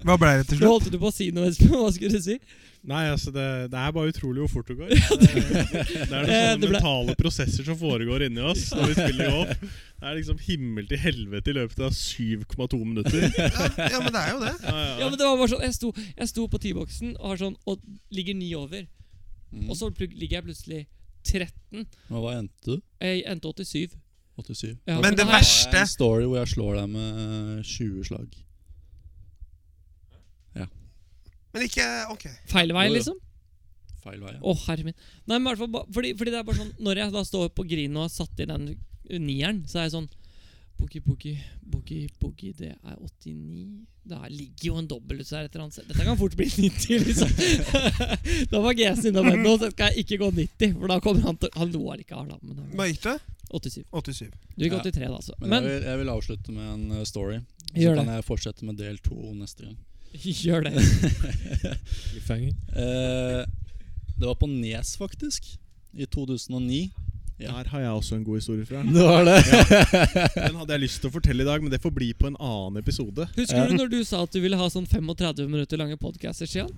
D: Hva ble det til
A: Nå
D: slutt?
A: holdt du på å si noe, Espen. Hva skulle du si?
B: Nei, altså det, det er bare utrolig hvor fort det går. Det, det er noen
A: Eh,
B: sånne
A: det ble-
B: mentale prosesser som foregår inni oss når vi spiller golf. Det er liksom himmel til helvete i løpet av 7,2 minutter.
D: Ja, men det er jo det.
B: Ja, ja.
A: Ja, men det var bare sånn Jeg sto, jeg sto på T-boksen og har sånn Og ligger ni over.
D: Mhm.
F: Mm.
A: Og så plug- ligger jeg plutselig 13.
F: Men hva endte du?
A: Jeg endte 87.
F: 87.
A: Ja,
D: Men det
A: her-
D: verste-
F: Det er en story hvor jeg slår deg med 20 slag.
D: Men ikke Ok.
A: Feil vei,
F: Jo, jo.
A: liksom?
F: Feil vei.
A: Å, herre min. Nei, men i hvert fall ba- fordi, fordi det er bare sånn Når jeg da står på grinen og har satt i den nieren, så er jeg sånn Boogie, boogie, boogie, boogie, det er 89 Det er- ligger jo en dobbelthus her et eller annet sted. Dette kan fort bli 90, liksom. da var GS innom ennå, så skal jeg ikke gå 90, for da kommer han til Han lo allikevel, da, men han-
D: Hva gikk det? 87.
A: 87. Du gikk
F: Ja.
A: 83, da, altså.
F: Men,
A: Men
F: jeg, vil, jeg vil avslutte med en eh, story. Så
A: gjør
F: kan
A: det.
F: jeg fortsette med del to neste gang.
A: Gjør det.
E: Cliffhanger.
F: Eh, det var på Nes, faktisk. I 2009.
B: Der har jeg også en god historie fra.
F: Det var det?
B: Den hadde jeg lyst til å fortelle i dag, men det får bli på en annen episode.
A: Husker du når du sa at du ville ha sånn 35 minutter lange podcaster, Sian?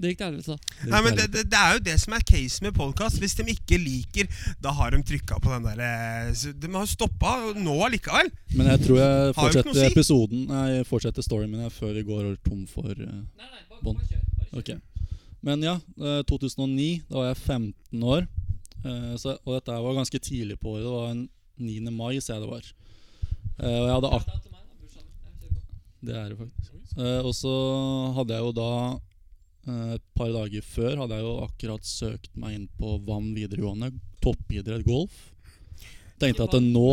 A: Det gikk altså. til helvete.
D: Nei, men det, det, det er jo det som er case med podkast. Hvis de ikke liker, da har de trykka på den der eh, så De har stoppa nå allikevel.
F: Men jeg tror jeg
D: Har jo ikke
F: fortsetter
D: noe å si.
F: episoden Nei, jeg fortsetter storyen min her før vi går tom for eh,
A: Nei, nei, bare,
F: Bånd. Ok Men ja, eh, 2009, da var jeg 15 år eh, så, Og dette her var ganske tidlig på året Det var en 9. mai, ser jeg det var Eh, Og jeg hadde ak Det er det faktisk Eh, Og så hadde jeg jo da eh, Et par dager før hadde jeg jo akkurat søkt meg inn på VAM videregående Toppidrett golf Tenkte at nå,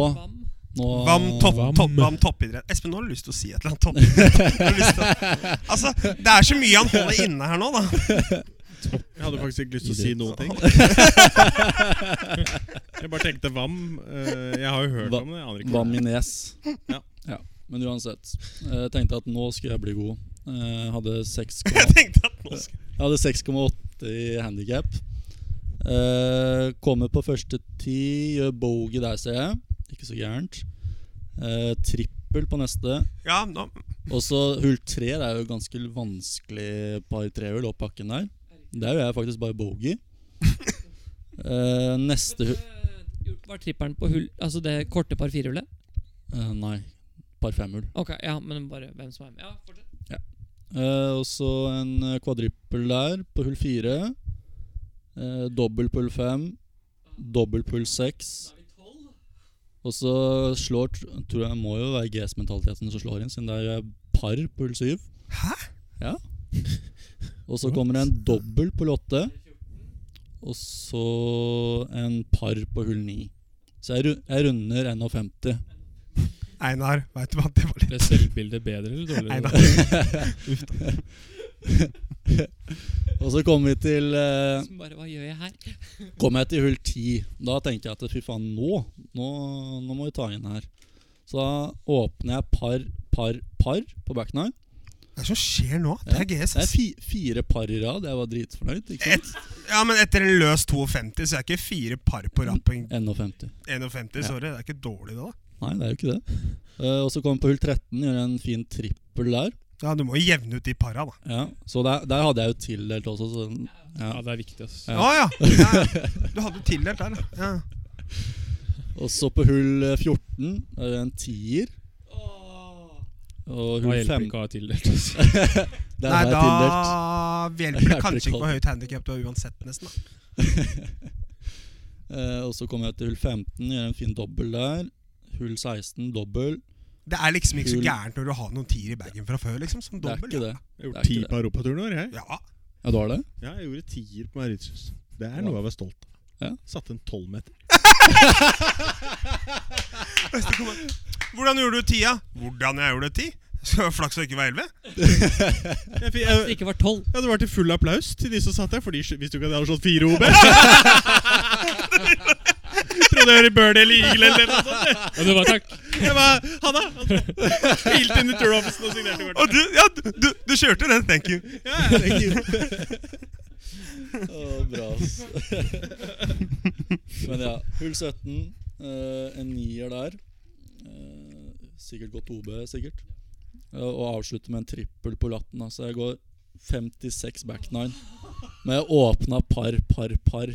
F: nå
D: Vam, topp,
E: Vam.
D: topp, vam toppidrett. Espen, nå har du lyst til å si et eller annet toppidrett. Nå har du lyst til å- altså, det er så mye han holder inne her nå, da.
B: Jeg hadde faktisk ikke lyst til å si noen ting. Jeg bare tenkte Vam. eh, Jeg har jo hørt
F: Va-
B: om det. Jeg aner ikke.
F: Var min nes.
B: Ja.
F: Men uansett. Jeg tenkte at nå skulle jeg bli god. Jeg hadde seks komma-
D: Jeg tenkte at nå skal
F: jeg hadde 6,8 i handikap. kommer på første ti, gjør bogey der, ser jeg. Ikke så gærent. Eh, trippel på neste.
D: Ja, nå
F: Og så hull tre. Det er jo ganske vanskelig par trehull opp bakken der. Der gjør jeg faktisk bare bogey. Eh, neste hull
A: Var tripperen på hull Altså det korte par firehullet?
F: eh, Nei, par femhull.
A: Ok, ja, men bare hvem som er med. Ja, fortsett.
F: Eh, og så en eh, kvadrippel der på hull fire. Eh, dobbel på hull fem. Dobbel på hull seks. Og så slår tr- Tror jeg må jo være GS-mentaliteten som slår inn, siden det er eh, par på hull syv.
D: Hæ?
F: Ja. og så kommer det en dobbel på hull åtte. Og så en par på hull ni. Så jeg, ru- jeg runder 1,50.
D: Einar, veit du hva, det var litt
E: Ble selvbildet bedre eller
D: Einar.
E: dårligere?
F: Og så kommer vi til eh,
A: Som bare, hva gjør jeg her?
F: Kom jeg til hull 10, da tenker jeg at fy faen, nå, nå, nå må vi ta inn her. Så da åpner jeg par, par, par på back nine.
D: Det er som skjer nå. Det er GS.
F: Det er
D: ass.
F: fi, fire par i rad, jeg var dritfornøyd. ikke sant?
D: Ja, men etter en løs 52, så er ikke fire par på rappen
F: 51.
D: 51. Sorry, det er ikke dårlig, det, da.
F: Nei, det er jo ikke det. Eh, og så kommer vi på hull 13, gjør en fin trippel der.
D: Ja, Du må jo jevne ut de para, da.
F: Ja, så der, der hadde jeg jo tildelt også. Så, den- ja.
E: Ja, det er viktig, ass.
D: Å ja.
F: Ja.
D: ja. Du hadde jo tildelt der, da. Ja.
F: Og så på hull eh, 14, er det en tier. Og
D: Ah,
E: Hva
F: hull
E: hjelper
F: 5
E: ikke å ha tildelt? ass.
F: Der
D: Nei,
F: var jeg
D: da
F: tildelt.
D: hjelper det
F: Hjelper
D: kanskje ikke
F: ikke
D: hvor høyt handikap du har uansett, nesten. da.
F: Eh, og så kommer jeg til hull 15, gjør en fin dobbel der. Hull 16, dobbel.
D: Det er liksom ikke så
F: Kul.
D: gærent når du har noen tier i bagen fra før, liksom. Som
F: Det er
D: dobbel.
F: ikke det.
B: Jeg har
F: Det
B: gjort
F: er
B: ti
F: ikke det.
B: på europaturnoer, jeg.
D: Ja.
F: Ja, du har det?
B: Ja, jeg gjorde tier på Mauritius. Det er noe jeg var stolt av.
F: Ja.
B: Satte en tolvmeter.
D: Hvordan gjorde du tida? Hvordan jeg gjorde ti? Så Flaks det ikke var elleve.
B: Jeg
A: Det
B: fikk- jeg-
A: ikke var 12.
B: Ja, det var til full applaus til de som satt der, for de sk- visste jo ikke at jeg hadde slått fire OB. Trodde jeg hørte Birdie eller Eagle eller noe sånt.
E: Ja, det var takk.
B: Jeg bare, Hanna! Spilte inn i turofficen og signerte hvert.
D: Og du, ja, du, du- du kjørte den, thank you.
F: Å, bra, ass. Men ja, hull 17, eh, en nier der. Eh, sikkert gått OB, sikkert. eh, og avslutter med en trippel på latten. da. Så jeg går 56 back nine med åpna par, par, par.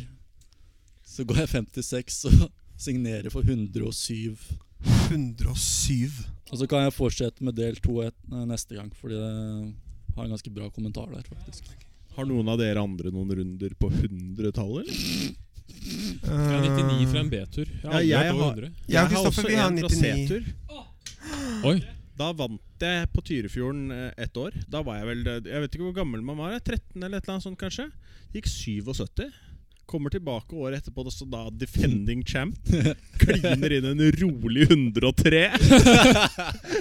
F: Så går jeg 56 og signerer for 107.
D: 107.
F: Og så kan jeg fortsette med del 2 et, eh, neste gang, fordi det har en ganske bra kommentar der, faktisk.
B: Har noen av dere andre noen runder på 100-tallet? eller?
E: Jeg har 99 fra en B-tur. Jeg har aldri
B: Ja, jeg
E: vært over
B: har-
E: 100.
D: Eh, Ja,
B: Jeg har også
D: Kristoffer, vi har
B: en fra
D: 99.
B: C-tur.
E: Oi,
B: Da vant jeg på Tyrifjorden eh, ett år. Da var jeg vel Jeg vet ikke hvor gammel man var. jeg, 13 eller et eller annet sånt, kanskje. Gikk 77. Kommer tilbake året etterpå, og så da defending champ. Kliner inn en rolig 103. Jeg,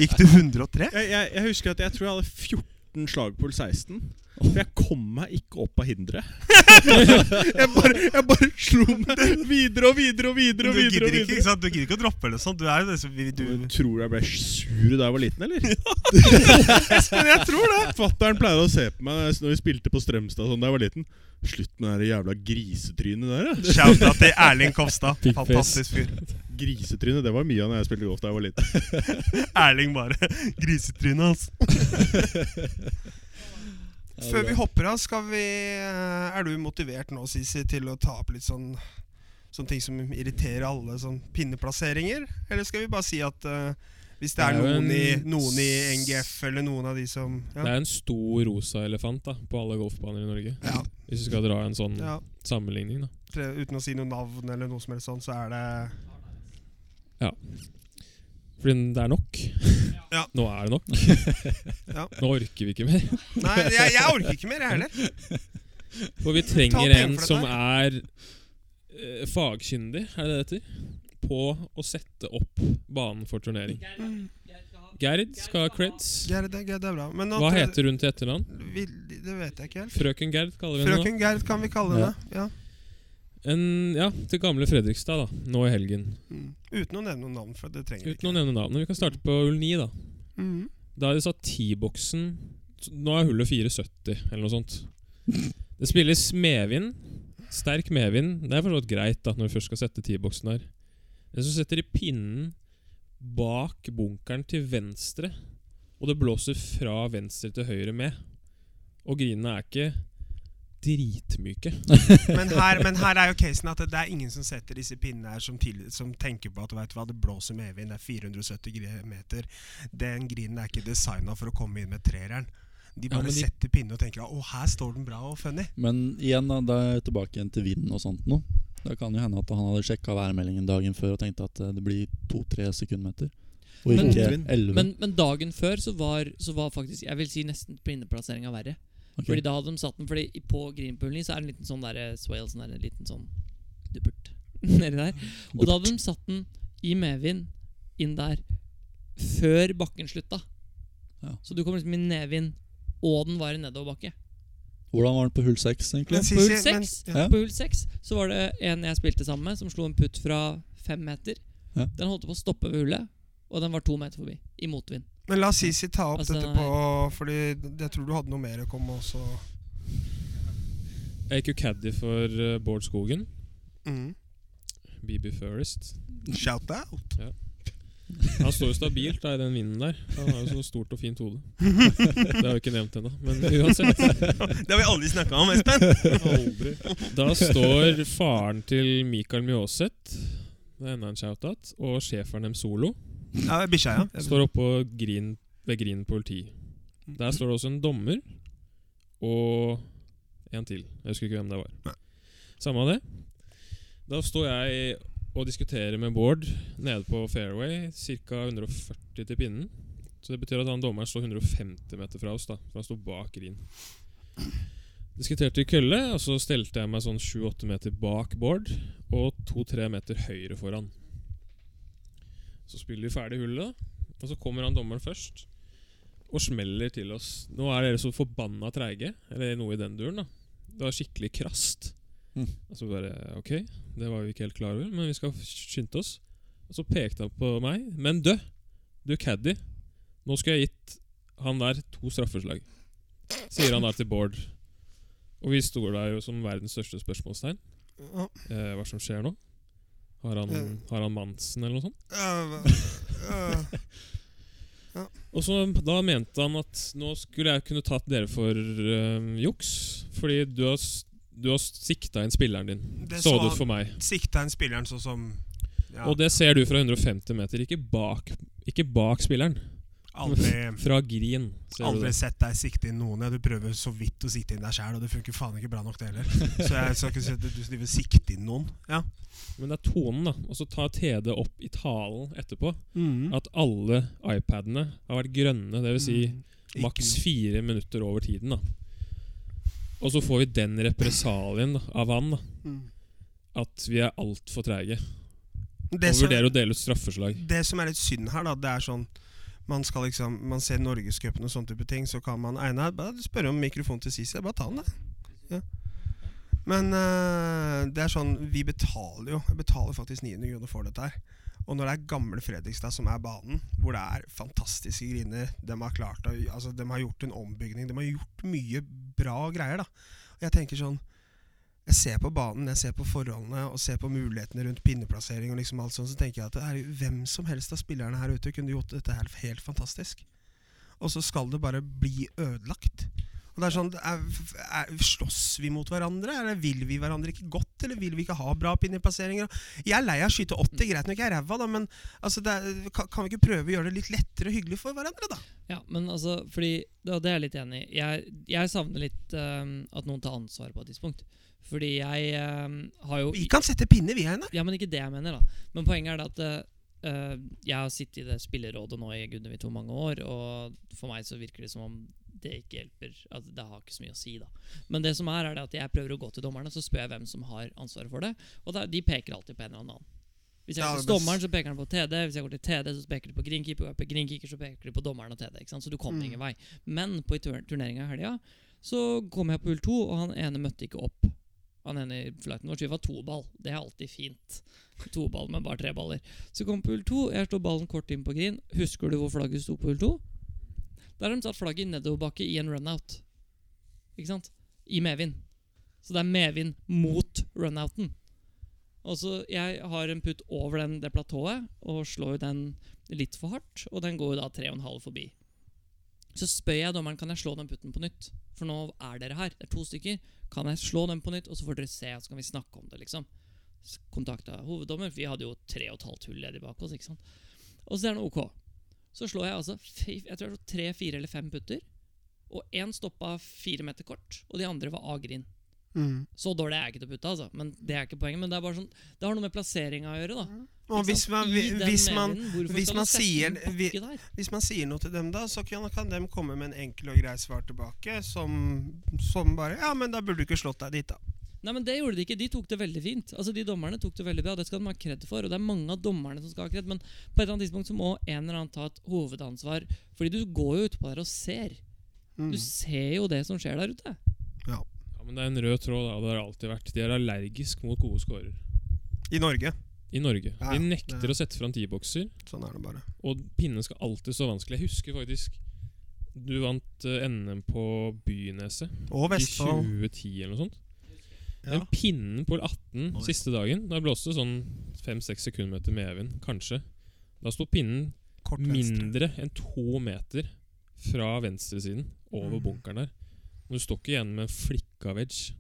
D: Gikk du 103?
B: jeg, jeg husker at jeg tror jeg hadde 14 slag på 16. For jeg kom meg ikke opp av hinderet. Jeg bare, jeg bare slo meg videre og videre og
D: Du
B: videre. og
D: gidder
B: videre, og
D: ikke, ikke
B: videre.
D: sant? Du gidder ikke å droppe eller sånt. Du er jo det som vi, du,
B: Men Tror du jeg ble sur da jeg var liten, eller?
D: Men jeg tror det!
B: Fatteren pleide å se på meg når vi spilte på Strømstad sånn da jeg var liten. Slutt med det jævla grisetrynet der, ja.
D: Shout-out til Erling Kofstad.
E: Big face.
D: Fantastisk fyr.
B: Grisetrynet, det var mye av når jeg spilte golf da jeg var liten.
D: Erling bare Grisetrynet hans.
F: Ja,
D: Før vi
F: bra.
D: hopper av, skal vi eh, Er du motivert nå, Sisi, til å ta opp litt sånn Sånne ting som irriterer alle, sånn pinneplasseringer? Eller skal vi bare si at eh, hvis det er,
E: Det er jo
D: noen, i,
E: en
D: noen i NGF eller noen av de som
E: Det
D: Ja.
E: er en stor rosa elefant da på alle golfbaner i Norge.
D: ja,
E: Hvis du skal dra en sånn
D: ja
E: sammenligning. da
D: tre, uten å si noe navn eller noe som helst sånn, så er det
E: Fordi det er nok.
D: Ja.
E: Nå er det nok.
D: Ja.
E: Nå orker vi ikke mer.
D: Nei, jeg, jeg orker ikke mer, jeg heller.
E: For vi
D: Ta
E: trenger
D: penger
E: en
D: for dette
E: som er eh, fagkyndig, er det det heter? På å sette opp banen for turnering. Gerd skal ha creds.
D: Gerd, det, Gerd, det er bra. Men nå,
E: Hva heter hun til etternavn?
D: vil, Det vet jeg ikke helt.
E: Frøken Gerd kaller vi henne nå.
D: Frøken Gerd kan vi kalle henne. Ja.
E: En, ja, til gamle Fredrikstad, da. Nå i helgen.
D: Mm. Uten å nevne noen navn, for det trenger vi ikke.
E: Uten å nevne navnet. Vi kan starte på hull 9, da.
D: Mm.
E: Da de satt T-boksen Nå er hullet 470, eller noe sånt. Det spilles medvind. Sterk medvind. Det er for så vidt greit da når vi først skal sette T-boksen der. Men så setter de pinnen bak bunkeren til venstre, og det blåser fra venstre til høyre med. Og grinene er ikke dritmyke.
D: Men her, men her er jo casen at det, det er ingen som setter disse pinnene her som, til, som tenker på at vet du hva, det blåser med medvind, det er 470 gre- meter. Den grinen er ikke designa for å komme inn med trereren. De
E: Ja,
D: bare
E: men de-
D: setter pinnen og tenker å, her står den bra og funny.
F: Men igjen, da, da er jeg tilbake igjen til vinden og sånt nå. Det kan jo hende at han hadde sjekka værmeldingen dagen før og tenkte at eh, det blir to-tre sekundmeter. Og
A: Men-
F: ikke
B: Motvind.
F: elleve.
A: Men, men dagen før så var, så var faktisk Jeg vil si nesten pinneplasseringa verre.
F: Ok.
A: Fordi da hadde de satt den Fordi i- på Greenpoolen så er det en liten sånn der swale Sånn der, en liten sånn duppert Nedi der Og da hadde de satt den i medvind Inn der Før bakken slutta
F: Ja.
A: Så du kom liksom i nedvind Og den var i nedoverbakke
F: Hvordan var den på hull seks, egentlig?
D: Men
A: På hull
D: Sisi, men, ja.
A: 6
F: Ja.
A: På hull 6 Så var det en jeg spilte sammen med Som slo en putt fra 5 meter
F: Ja.
A: Den holdt på å stoppe ved hullet Og den var 2 meter forbi I motvind
D: men la Sisi ta opp
A: Altså,
D: dette på Fordi jeg tror du hadde noe mer å komme med også.
E: Jeg gikk jo caddy for eh, Bård Skogen.
D: Mm.
E: BB Furrest.
D: Shout out!
E: Han står jo stabilt da, i den vinden der. Han har jo så stort og fint hode. Det har vi ikke nevnt ennå, men uansett.
D: Det har vi aldri snakka om, Espen!
E: Aldri. Da står faren til Mikael Mjåseth, det er enda en shout-out, og schæferen dem solo,
D: Ja, Bikkja, ja.
E: står oppå Green, ved Green politi. Der står det også en dommer og en til. Jeg husker ikke hvem det var. Samme av det. Da står jeg og diskuterer med Bård nede på fairway, ca. 140 til pinnen. Så det betyr at han dommeren står 150 meter fra oss, da, for han står bak green. Diskuterte i kølle, og så stelte jeg meg sånn 7-8 meter bak Bård og 2-3 meter høyre foran. Så spiller vi ferdig hullet, da, og så kommer han dommeren først og smeller til oss. Nå er dere så forbanna treige, eller noe i den duren, da. Det var skikkelig krast.
F: Mm.
E: Og så bare Ok, det var vi ikke helt klar over, men vi skal skynde oss. Og så pekte han på meg. Men dø, du caddy, nå skulle jeg gitt han der to straffeslag. Sier han da til Bård. Og vi står der jo som verdens største spørsmålstegn. Eh, hva som skjer nå? Har han,
D: Ja.
E: har han Mansen, eller noe sånt?
D: Øh, øh, Ja.
E: Og så Da mente han at nå skulle jeg kunne tatt dere for eh, juks, fordi du har, s- du har sikta inn spilleren din.
D: Det
E: så
D: så
E: det
D: han-
E: ut for meg.
D: Sikta inn spilleren sånn som ja,
E: Og det ser du fra 150 meter, ikke bak, ikke bak spilleren.
D: aldri,
E: Fra grien. Ser du
D: aldri
E: det.
D: sett deg sikte inn noen. Ja, du prøver så vidt å sikte inn deg sjæl, og det funker faen ikke bra nok, det heller. Så jeg skal ikke si at du driver og sikter inn noen. Ja.
E: Men det er tonen, da. Og så tar TD opp i talen etterpå
D: Mm.
E: at alle iPadene har vært grønne. Dvs. Si,
D: Mm. Ikke
E: maks
D: noe.
E: fire minutter over tiden. da Og så får vi den represalien da, av han da
D: Mm.
E: at vi er altfor treige.
D: Det
E: Og
D: som-
E: vurderer å dele ut straffeslag.
D: det som er litt synd her, da, det er sånn man skal liksom, man ser Norgescupen og sånne type ting, så kan man Einar bare spørre om mikrofon til Sisi. Bare ta den, da. Ja. Men eh, det er sånn, vi betaler jo. Jeg betaler faktisk 900 kroner for dette her. Og når det er gamle Fredrikstad som er banen, hvor det er fantastiske griner De har klart å, altså de har gjort en ombygning, de har gjort mye bra greier. da. Og jeg tenker sånn jeg ser på banen, jeg ser på forholdene og ser på mulighetene rundt pinneplassering. og liksom alt sånt, Så tenker jeg at herregud, hvem som helst av spillerne her ute kunne gjort dette her helt fantastisk. Og så skal det bare bli ødelagt. Og det er sånn, er, er, Slåss vi mot hverandre? Eller Vil vi hverandre ikke godt? Eller vil vi ikke ha bra pinneplasseringer? Jeg er lei av å skyte 80, greit nok jeg er ræva, da, men altså, det er, kan, kan vi ikke prøve å gjøre det litt lettere og hyggelig for hverandre, da?
A: Ja, men altså, fordi Det, det er jeg litt enig i. Jeg, jeg savner litt eh, at noen tar ansvar på et tidspunkt. Fordi jeg eh, har jo
D: Vi kan sette pinner, vi, Einar.
A: Ja, men ikke det jeg mener, da. Men poenget er det at eh, eh, jeg har sittet i det spillerådet nå i gudene vet hvor mange år, og for meg så virker det som om det ikke hjelper. At det har ikke så mye å si, da. Men det som er, er det at jeg prøver å gå til dommerne, så spør jeg hvem som har ansvaret for det, og da, de peker alltid på en eller annen. Hvis jeg
D: Ja,
A: går
D: det
A: til
D: best-
A: dommeren, så peker han på TD. Hvis jeg går til TD, så peker de på greenkeeper. Går jeg på greenkeeper, så peker de på dommeren og TD. Ikke sant? Så du kommer
D: Mm.
A: ingen vei. Men på turneringa i helga så kom jeg på hull to, og han ene møtte ikke opp. Han ene i flighten vår, så vi var to ball. Det er alltid fint. To ball, men bare tre baller. Så kom på hull to, jeg slår ballen kort inn på green. Husker du hvor flagget sto på hull to? Der har de satt flagget i nedoverbakke i en runout. Ikke sant? I medvind. Så det er medvind mot runouten. Og så Jeg har en putt over den, det platået og slår jo den litt for hardt. Og den går jo da 3,5 forbi. Så spør jeg dommeren kan jeg slå den putten på nytt. For nå er dere her. Det er to stykker. Kan jeg slå den på nytt, og så får dere se, så kan vi snakke om det, liksom. S- Kontakta hoveddommer. Vi hadde jo tre og et halvt hull ledig bak oss, ikke sant. Og så er den ok. Så slår jeg altså fi- jeg tror det var tre, fire eller fem putter. Og én stoppa fire meter kort, og de andre var A-green. Så dårlig er jeg ikke til å putte, altså. Men det er ikke poenget. Men det er bare sånn Det har noe med plasseringa å gjøre, da.
D: Og
A: Ikke
D: hvis
A: sant?
D: man,
A: I den
D: hvis man
A: medvinden, hvorfor
D: hvis
A: skal
D: man
A: du sette inn
D: sier- vi-
A: pakke der?
D: Hvis man sier noe til dem da, så kan, kan de komme med en enkel og grei svar tilbake, som, som bare Ja, men da burde du ikke slått deg dit, da.
A: Nei, men Det gjorde de ikke. De tok det veldig fint. Altså, De dommerne tok det veldig bra. Det skal de ha kred for. Og det er mange av dommerne som skal ha kred. Men på et eller annet tidspunkt så må en eller annen ta et hovedansvar. Fordi du går jo utpå der og ser.
D: Mm.
A: Du ser jo det som skjer der ute.
E: Ja, men det er en rød tråd, da, og det har det alltid vært. De er allergisk mot gode scorer.
D: I Norge.
E: I Norge.
D: Ja,
E: De nekter
D: ja.
E: å sette fram tibokser,
D: Sånn er det bare.
E: og pinnen skal alltid stå vanskelig. Jeg husker faktisk du vant eh, NM på Byneset
D: Og
E: i
D: Vestfold.
E: 2010 eller noe sånt.
D: Ja.
E: Den pinnen på 18
D: Oi.
E: siste dagen, da blåste det sånn 5-6 sekundmeter medvind, kanskje. Da sto pinnen
D: Kort venstre.
E: mindre enn to meter fra venstresiden over
D: Mm.
E: bunkeren der. Og Du står ikke igjen med en flikka wedge,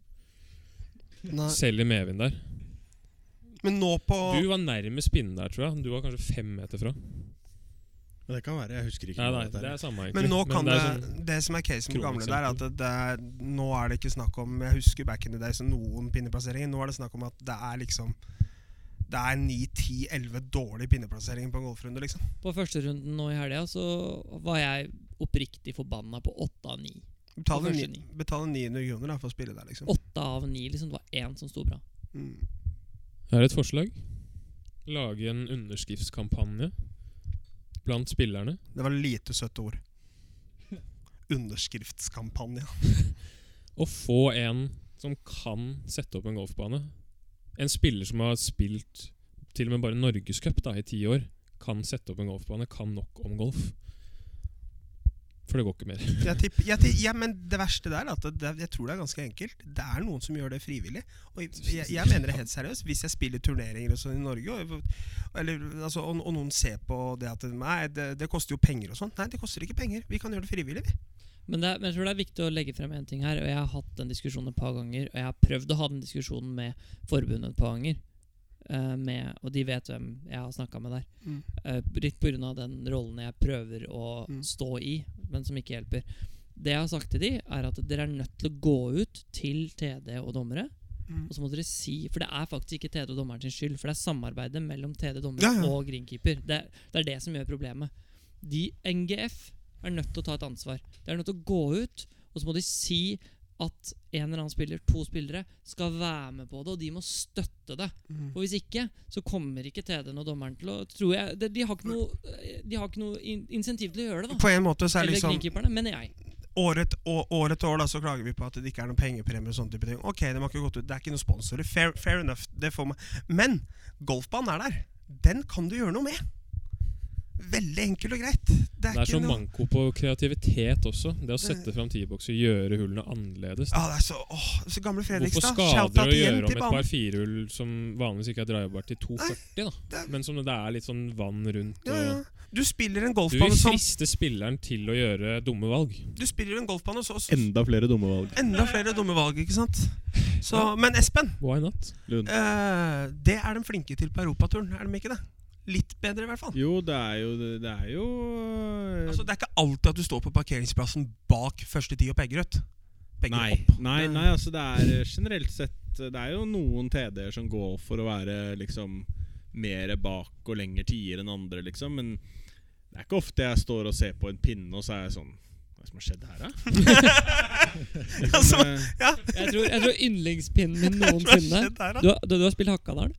D: Nei.
E: selv i medvind der.
D: Men nå på
E: Du var nærmest pinnen der, tror jeg. Du var kanskje fem meter fra.
B: Men det kan være. Jeg husker ikke.
E: Nei,
B: hva
E: nei,
B: dette
E: det
B: er.
E: er samme, egentlig.
D: Men nå kan det
E: er sånn-
D: Det som er casen på gamle der, er at
E: kroneksempel.
D: det er, nå er det ikke snakk om Jeg husker back in the days noen pinneplasseringer. Nå er det snakk om at det er liksom Det er 9-10-11 dårlige pinneplasseringer på en golfrunde, liksom.
A: På førsterunden nå i helga så var jeg oppriktig forbanna på åtte av ni.
D: Betaler,
A: Kanskje
D: ni,
A: ni.
D: betaler 900 kroner da, for å spille der, liksom.
A: Åtte av ni, liksom. Det var én som sto bra.
D: Mm.
E: Her er et forslag. Lage en underskriftskampanje blant spillerne.
D: Det var lite søtte ord. Underskriftskampanje.
E: Og få en som kan sette opp en golfbane. En spiller som har spilt til og med bare Norgescup da, i ti år, kan sette opp en golfbane, kan nok om golf. For det går ikke mer.
D: Jeg tipp, jeg tipp, ja, men det verste der er at det, jeg tror det er ganske enkelt. Det er noen som gjør det frivillig. Og jeg, jeg mener det helt seriøst. Hvis jeg spiller turneringer og sånn i Norge, og, eller, altså, og, og noen ser på det at Nei, det, det koster jo penger og sånn. Nei, det koster ikke penger. Vi kan gjøre det frivillig, vi.
A: Men, det, er- men jeg tror det er viktig å legge frem en ting her, og jeg har hatt den diskusjonen et par ganger, og jeg har prøvd å ha den diskusjonen med forbundet et par ganger, eh, med, og de vet hvem jeg har snakka med der.
D: Mm.
A: Eh, litt pga. den rollen jeg prøver å
D: Mm.
A: stå i, men som ikke hjelper. Det jeg har sagt til de, er at dere er nødt til å gå ut til TD og dommere.
D: Mm.
A: Og så må dere si For det er faktisk ikke TD og dommeren sin skyld, for det er samarbeidet mellom TD, dommere
D: Ja, ja.
A: og greenkeeper. Det, det er det som gjør problemet. De NGF er nødt til å ta et ansvar. De er nødt til å gå ut, og så må de si at en eller annen spiller, to spillere, skal være med på det, og de må støtte det. Og hvis ikke, så kommer ikke TD-en og dommeren til å tror jeg, de, de har ikke noe, de har ikke noe in insentiv til å gjøre det, da.
D: På en måte så er
A: Eller
D: det liksom
A: greenkeeperne, mener jeg.
D: år et, å- år etter år da, så klager vi på at det ikke er noen pengepremie. og sånne type ting. Ok, de har ikke gått ut, Det er ikke noen sponsorer. Fair, fair enough. det får meg. Men golfbanen er der. Den kan du gjøre noe med. Veldig enkelt og greit. Det er,
E: Det er
D: ikke
E: så
D: noe...
E: manko på kreativitet også. Det å sette fram tibokser, gjøre hullene annerledes.
D: Ja, det er så, åh, så gamle
E: Hvorfor
D: Fredrikstad.
E: skader det
D: Shout-out
E: å
D: igjen
E: gjøre om
D: til
E: et par
D: banen.
E: firehull som vanligvis ikke er drivbart, til 240, da?
D: det-
E: Men som det er litt sånn vann rundt
D: Ja, ja.
E: og
D: Du spiller en
E: Du vil
D: golfbane som
E: friste spilleren til å gjøre dumme valg.
D: Du spiller en golfbane, og så, så
B: Enda flere dumme valg.
D: enda flere dumme valg, ikke sant? Så, men Espen,
E: Why not?
B: Lund.
D: eh, det er de flinke til på europaturen, er de ikke det? Litt bedre, i hvert fall.
B: Jo, det er jo Det er jo eh,
D: Altså, det er ikke alltid at du står på parkeringsplassen bak første ti og pegger ut. Pegger
B: nei,
D: opp.
B: nei,
D: Det-
B: nei, altså det er eh, generelt sett eh, Det er jo noen TD-er som går for å være liksom mer bak og lenger tider enn andre, liksom. Men det er ikke ofte jeg står og ser på en pinne, og så er jeg sånn Hva er det som har skjedd her, da?
D: altså,
B: Eh,
A: Jeg tror, jeg tror yndlingspinnen min
D: hva
A: noensinne
D: skjedde her, da?
A: du, har- du, du har spilt Hakadal?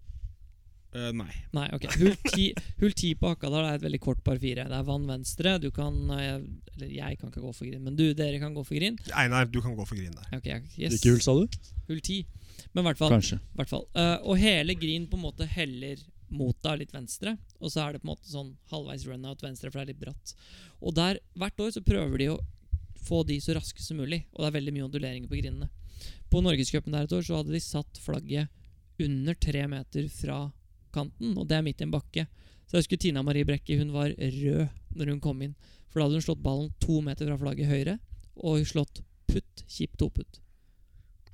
B: eh, nei.
A: Nei, ok. Hull 10, hull 10 på Hakadal er et veldig kort par fire. Det er vann venstre. Du kan eh, Eller jeg kan ikke gå for green, men du, dere kan gå for green.
D: Einar, du kan gå for green der.
A: Ok, yes.
F: Ikke hull, sa du?
A: Hull 10. Men i hvert fall
F: Kanskje.
A: hvert fall. Eh, og hele green på en måte heller mot deg litt venstre, og så er det på en måte sånn halvveis runout venstre, for det er litt bratt. Og der, hvert år så prøver de å få de så raske som mulig, og det er veldig mye onduleringer på grinene. På Norgescupen der et år så hadde de satt flagget under tre meter fra kanten, og det er midt i en bakke. Så jeg husker Tina Marie Brekke, hun var rød når hun kom inn, for da hadde hun slått ballen to meter fra flagget høyre, og slått putt, kjipt toputt.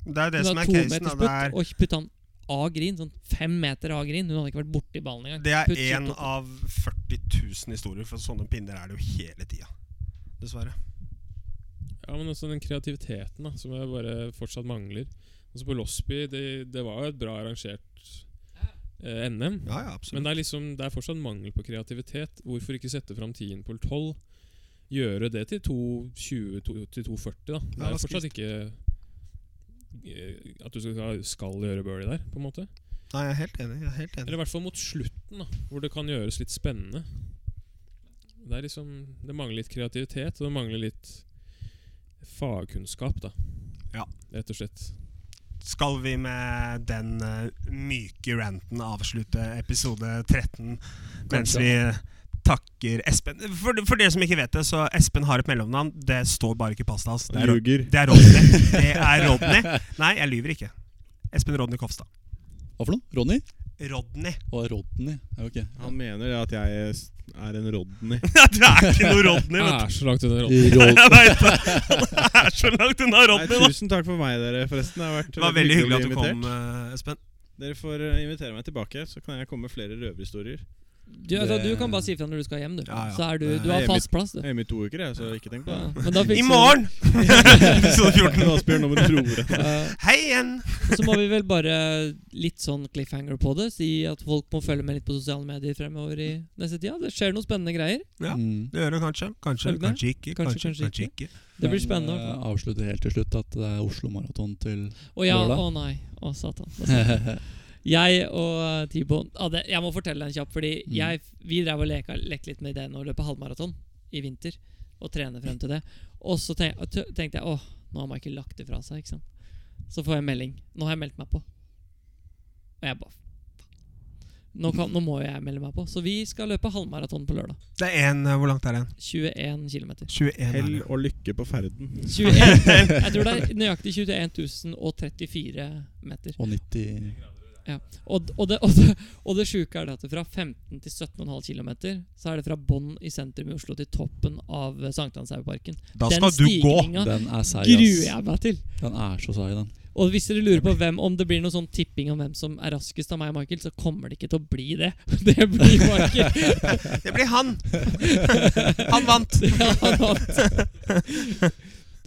D: Det er jo det
A: Hun
D: som er
A: hadde to
D: casen.
A: meters
D: da.
A: putt,
D: Det
A: Og putta den av grin, sånn fem meter av grin. Hun hadde ikke vært borti ballen engang.
D: er,
A: Putt,
D: det er én
A: putt, putt.
D: av 40 000 historier, for sånne pinner er det jo hele tida. Dessverre.
E: Ja, men også den kreativiteten da, som jeg bare fortsatt mangler. Altså på Losby, det, det var jo et bra arrangert eh, NM.
D: Ja, ja,
E: Men
D: absolutt.
E: det er, liksom, det er fortsatt mangel på kreativitet. Hvorfor ikke sette fram 10 på 12? Gjøre det til 2.20 to- til 2.40, da. Det
D: Ja,
E: er
D: hva skal
E: fortsatt ikke eh, at du skal, skal gjøre birdie der, på en måte.
D: Nei, jeg er helt enig. Jeg er helt enig.
E: Eller i hvert fall mot slutten, da, hvor det kan gjøres litt spennende. Det, er liksom, det mangler litt kreativitet, og det mangler litt fagkunnskap, da.
D: Ja.
E: Rett og slett.
D: Skal vi med den eh, myke ranten avslutte episode 13 mens
F: Kanskje.
D: vi takker Espen? For, for dere som ikke vet det, så Espen har et mellomnavn. Det står bare ikke i pasta hans. Det er,
B: Ljuger.
D: det er Rodney. Det er Rodney. Nei, jeg lyver ikke. Espen Rodney Kofstad.
F: Hva for noe? Ronny?
D: Rodney.
F: Å, Rodney. Ja, ok.
B: Han mener det at jeg s- er en Rodney.
D: Ja, du er ikke noe Rodney,
E: Jeg
D: vet du.
E: er Ah, så langt unna rollen.
F: Rod
D: Jeg vet det. Han er så langt unna
B: Ah. Nei,
D: Rodney, da.
B: tusen takk for meg, dere, forresten. Det har vært
D: Det var veldig hyggelig at du
B: å bli invitert.
D: kom, eh, Espen.
B: Dere får eh, invitere meg tilbake, så kan jeg komme med flere røverhistorier.
A: Du, altså, du kan bare si ifra når du skal hjem, du.
D: Ja, ja.
A: Så er du, du
B: Jeg
A: har
B: er
A: fast plass, du.
B: Jeg er hjemme i to uker, jeg, så ikke tenk på
A: Ja,
B: det.
A: men da fikser
D: I
A: du-
D: morgen! Episode 14.
B: Asbjørn, nå må du tro det.
A: Eh,
D: Hei igjen!
A: så må vi vel bare litt sånn cliffhanger på det. Si at folk må følge med litt på sosiale medier fremover i neste tida. Det skjer noen spennende greier.
D: Ja.
F: Mm.
D: Det gjør det kanskje. Kanskje,
A: Følg med.
D: kanskje ikke. Kanskje, kanskje, ikke.
A: Det blir
F: Men,
A: spennende. i hvert fall.
F: eh, avslutter helt til slutt at det er Oslo Maraton til
A: Å ja,
F: lørdag.
A: å nei. Å satan. Da sa jeg Jeg og eh, T-Bone ja, det- Jeg må fortelle en kjapp, fordi
F: Mm.
A: jeg, vi drev og leka, lekte litt med ideen om å løpe halvmaraton i vinter. Og trene frem til det. Og så tenk, og t- tenkte jeg åh, nå har Michael lagt det fra seg. ikke sant? Så får jeg en melding. Nå har jeg meldt meg på. Og jeg bare faen. Nå, kan, nå må jo jeg melde meg på. Så vi skal løpe halvmaraton på lørdag.
D: Det er en, eh, Hvor langt er det?
A: 21 km.
D: 21 er
B: Hell
D: det.
B: og lykke på ferden.
A: 21, jeg tror det er nøyaktig 21 034 meter.
F: Og 90
A: Og, og det, og det, og det sjuke er det at fra 15 til 17,5 km så er det fra bånn i sentrum i Oslo til toppen av eh, Sankthanshaugeparken.
D: Da skal du gå!
F: Den er seig,
A: gruer
F: ass.
A: jeg meg til!
F: Den er så seig, den.
A: Og hvis dere lurer på hvem om det blir noe sånn tipping om hvem som er raskest av meg og Michael, så kommer det ikke til å bli det. Det blir Michael.
D: Det blir han! Han vant!
A: Det er han vant.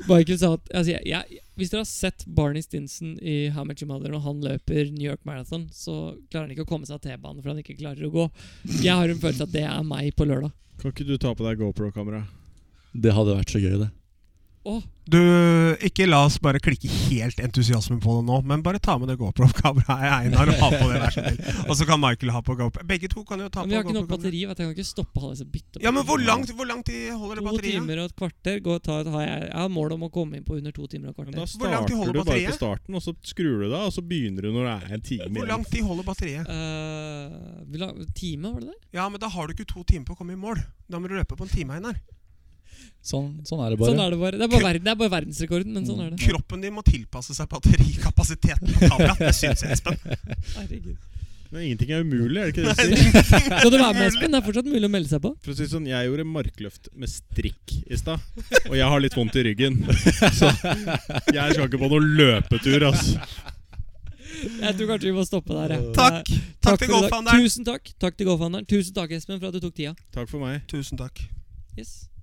A: Michael sa at altså, jeg, jeg, Hvis dere har sett Barney Stinson i How Much You Mother når han løper New York Marathon, så klarer han ikke å komme seg av T-banen fordi han ikke klarer å gå. Jeg har en følelse at det er meg på lørdag.
B: Kan ikke du ta på deg GoPro-kamera?
F: Det hadde vært så gøy, det.
A: Å,
D: Du, ikke la oss bare klikke helt entusiasme på det nå, men bare ta med det GoPro-kameraet Einar og ha på det der som vil. Og så kan Michael ha på GoPro. Begge to kan jo ta på
A: men vi har ikke nok
D: GoPro-kamera.
A: batteri. Vet du, jeg kan ikke stoppe alle disse bytte
D: Ja, men hvor langt, hvor langt de holder det
A: To
D: batteriet?
A: timer og et kvarter. Går, tar, har jeg, jeg har mål om å komme inn på under to timer og et
B: Men
A: kvarter.
B: da
D: Hvor langt de
B: starter
D: holder
B: du bare på
D: batteriet?
B: starten, og så skrur du deg, og så begynner du når det er en time
D: Hvor
B: igjen.
D: langt de holder batteriet?
A: Eh, vi la, time, var det det?
D: Ja, men da har du ikke to timer på å komme i mål. Da må du løpe på en time, Einar.
F: Sånn, sånn er det bare.
A: Sånn er det bare. Det er bare, verden, det er bare verdensrekorden, men sånn er det.
D: Kroppen din må tilpasse seg batterikapasiteten på kameraet. Det syns jeg, Espen.
A: Herregud.
B: Men ingenting er umulig, er det ikke det de sier?
A: Skal du være med, Espen? Det er fortsatt mulig å melde seg på.
B: For å si det sånn, Jeg gjorde markløft med strikk i stad, og jeg har litt vondt i ryggen. Så jeg skal ikke på noen løpetur, altså.
A: Jeg tror kanskje vi må stoppe der. jeg.
D: Takk.
A: Eh,
D: Takk til
A: for i dag.
D: golfhandleren.
A: Tusen takk. Takk til golfhandleren. Tusen takk, Espen, for at du tok tida.
B: Takk for meg.
D: Tusen takk.
A: Yes.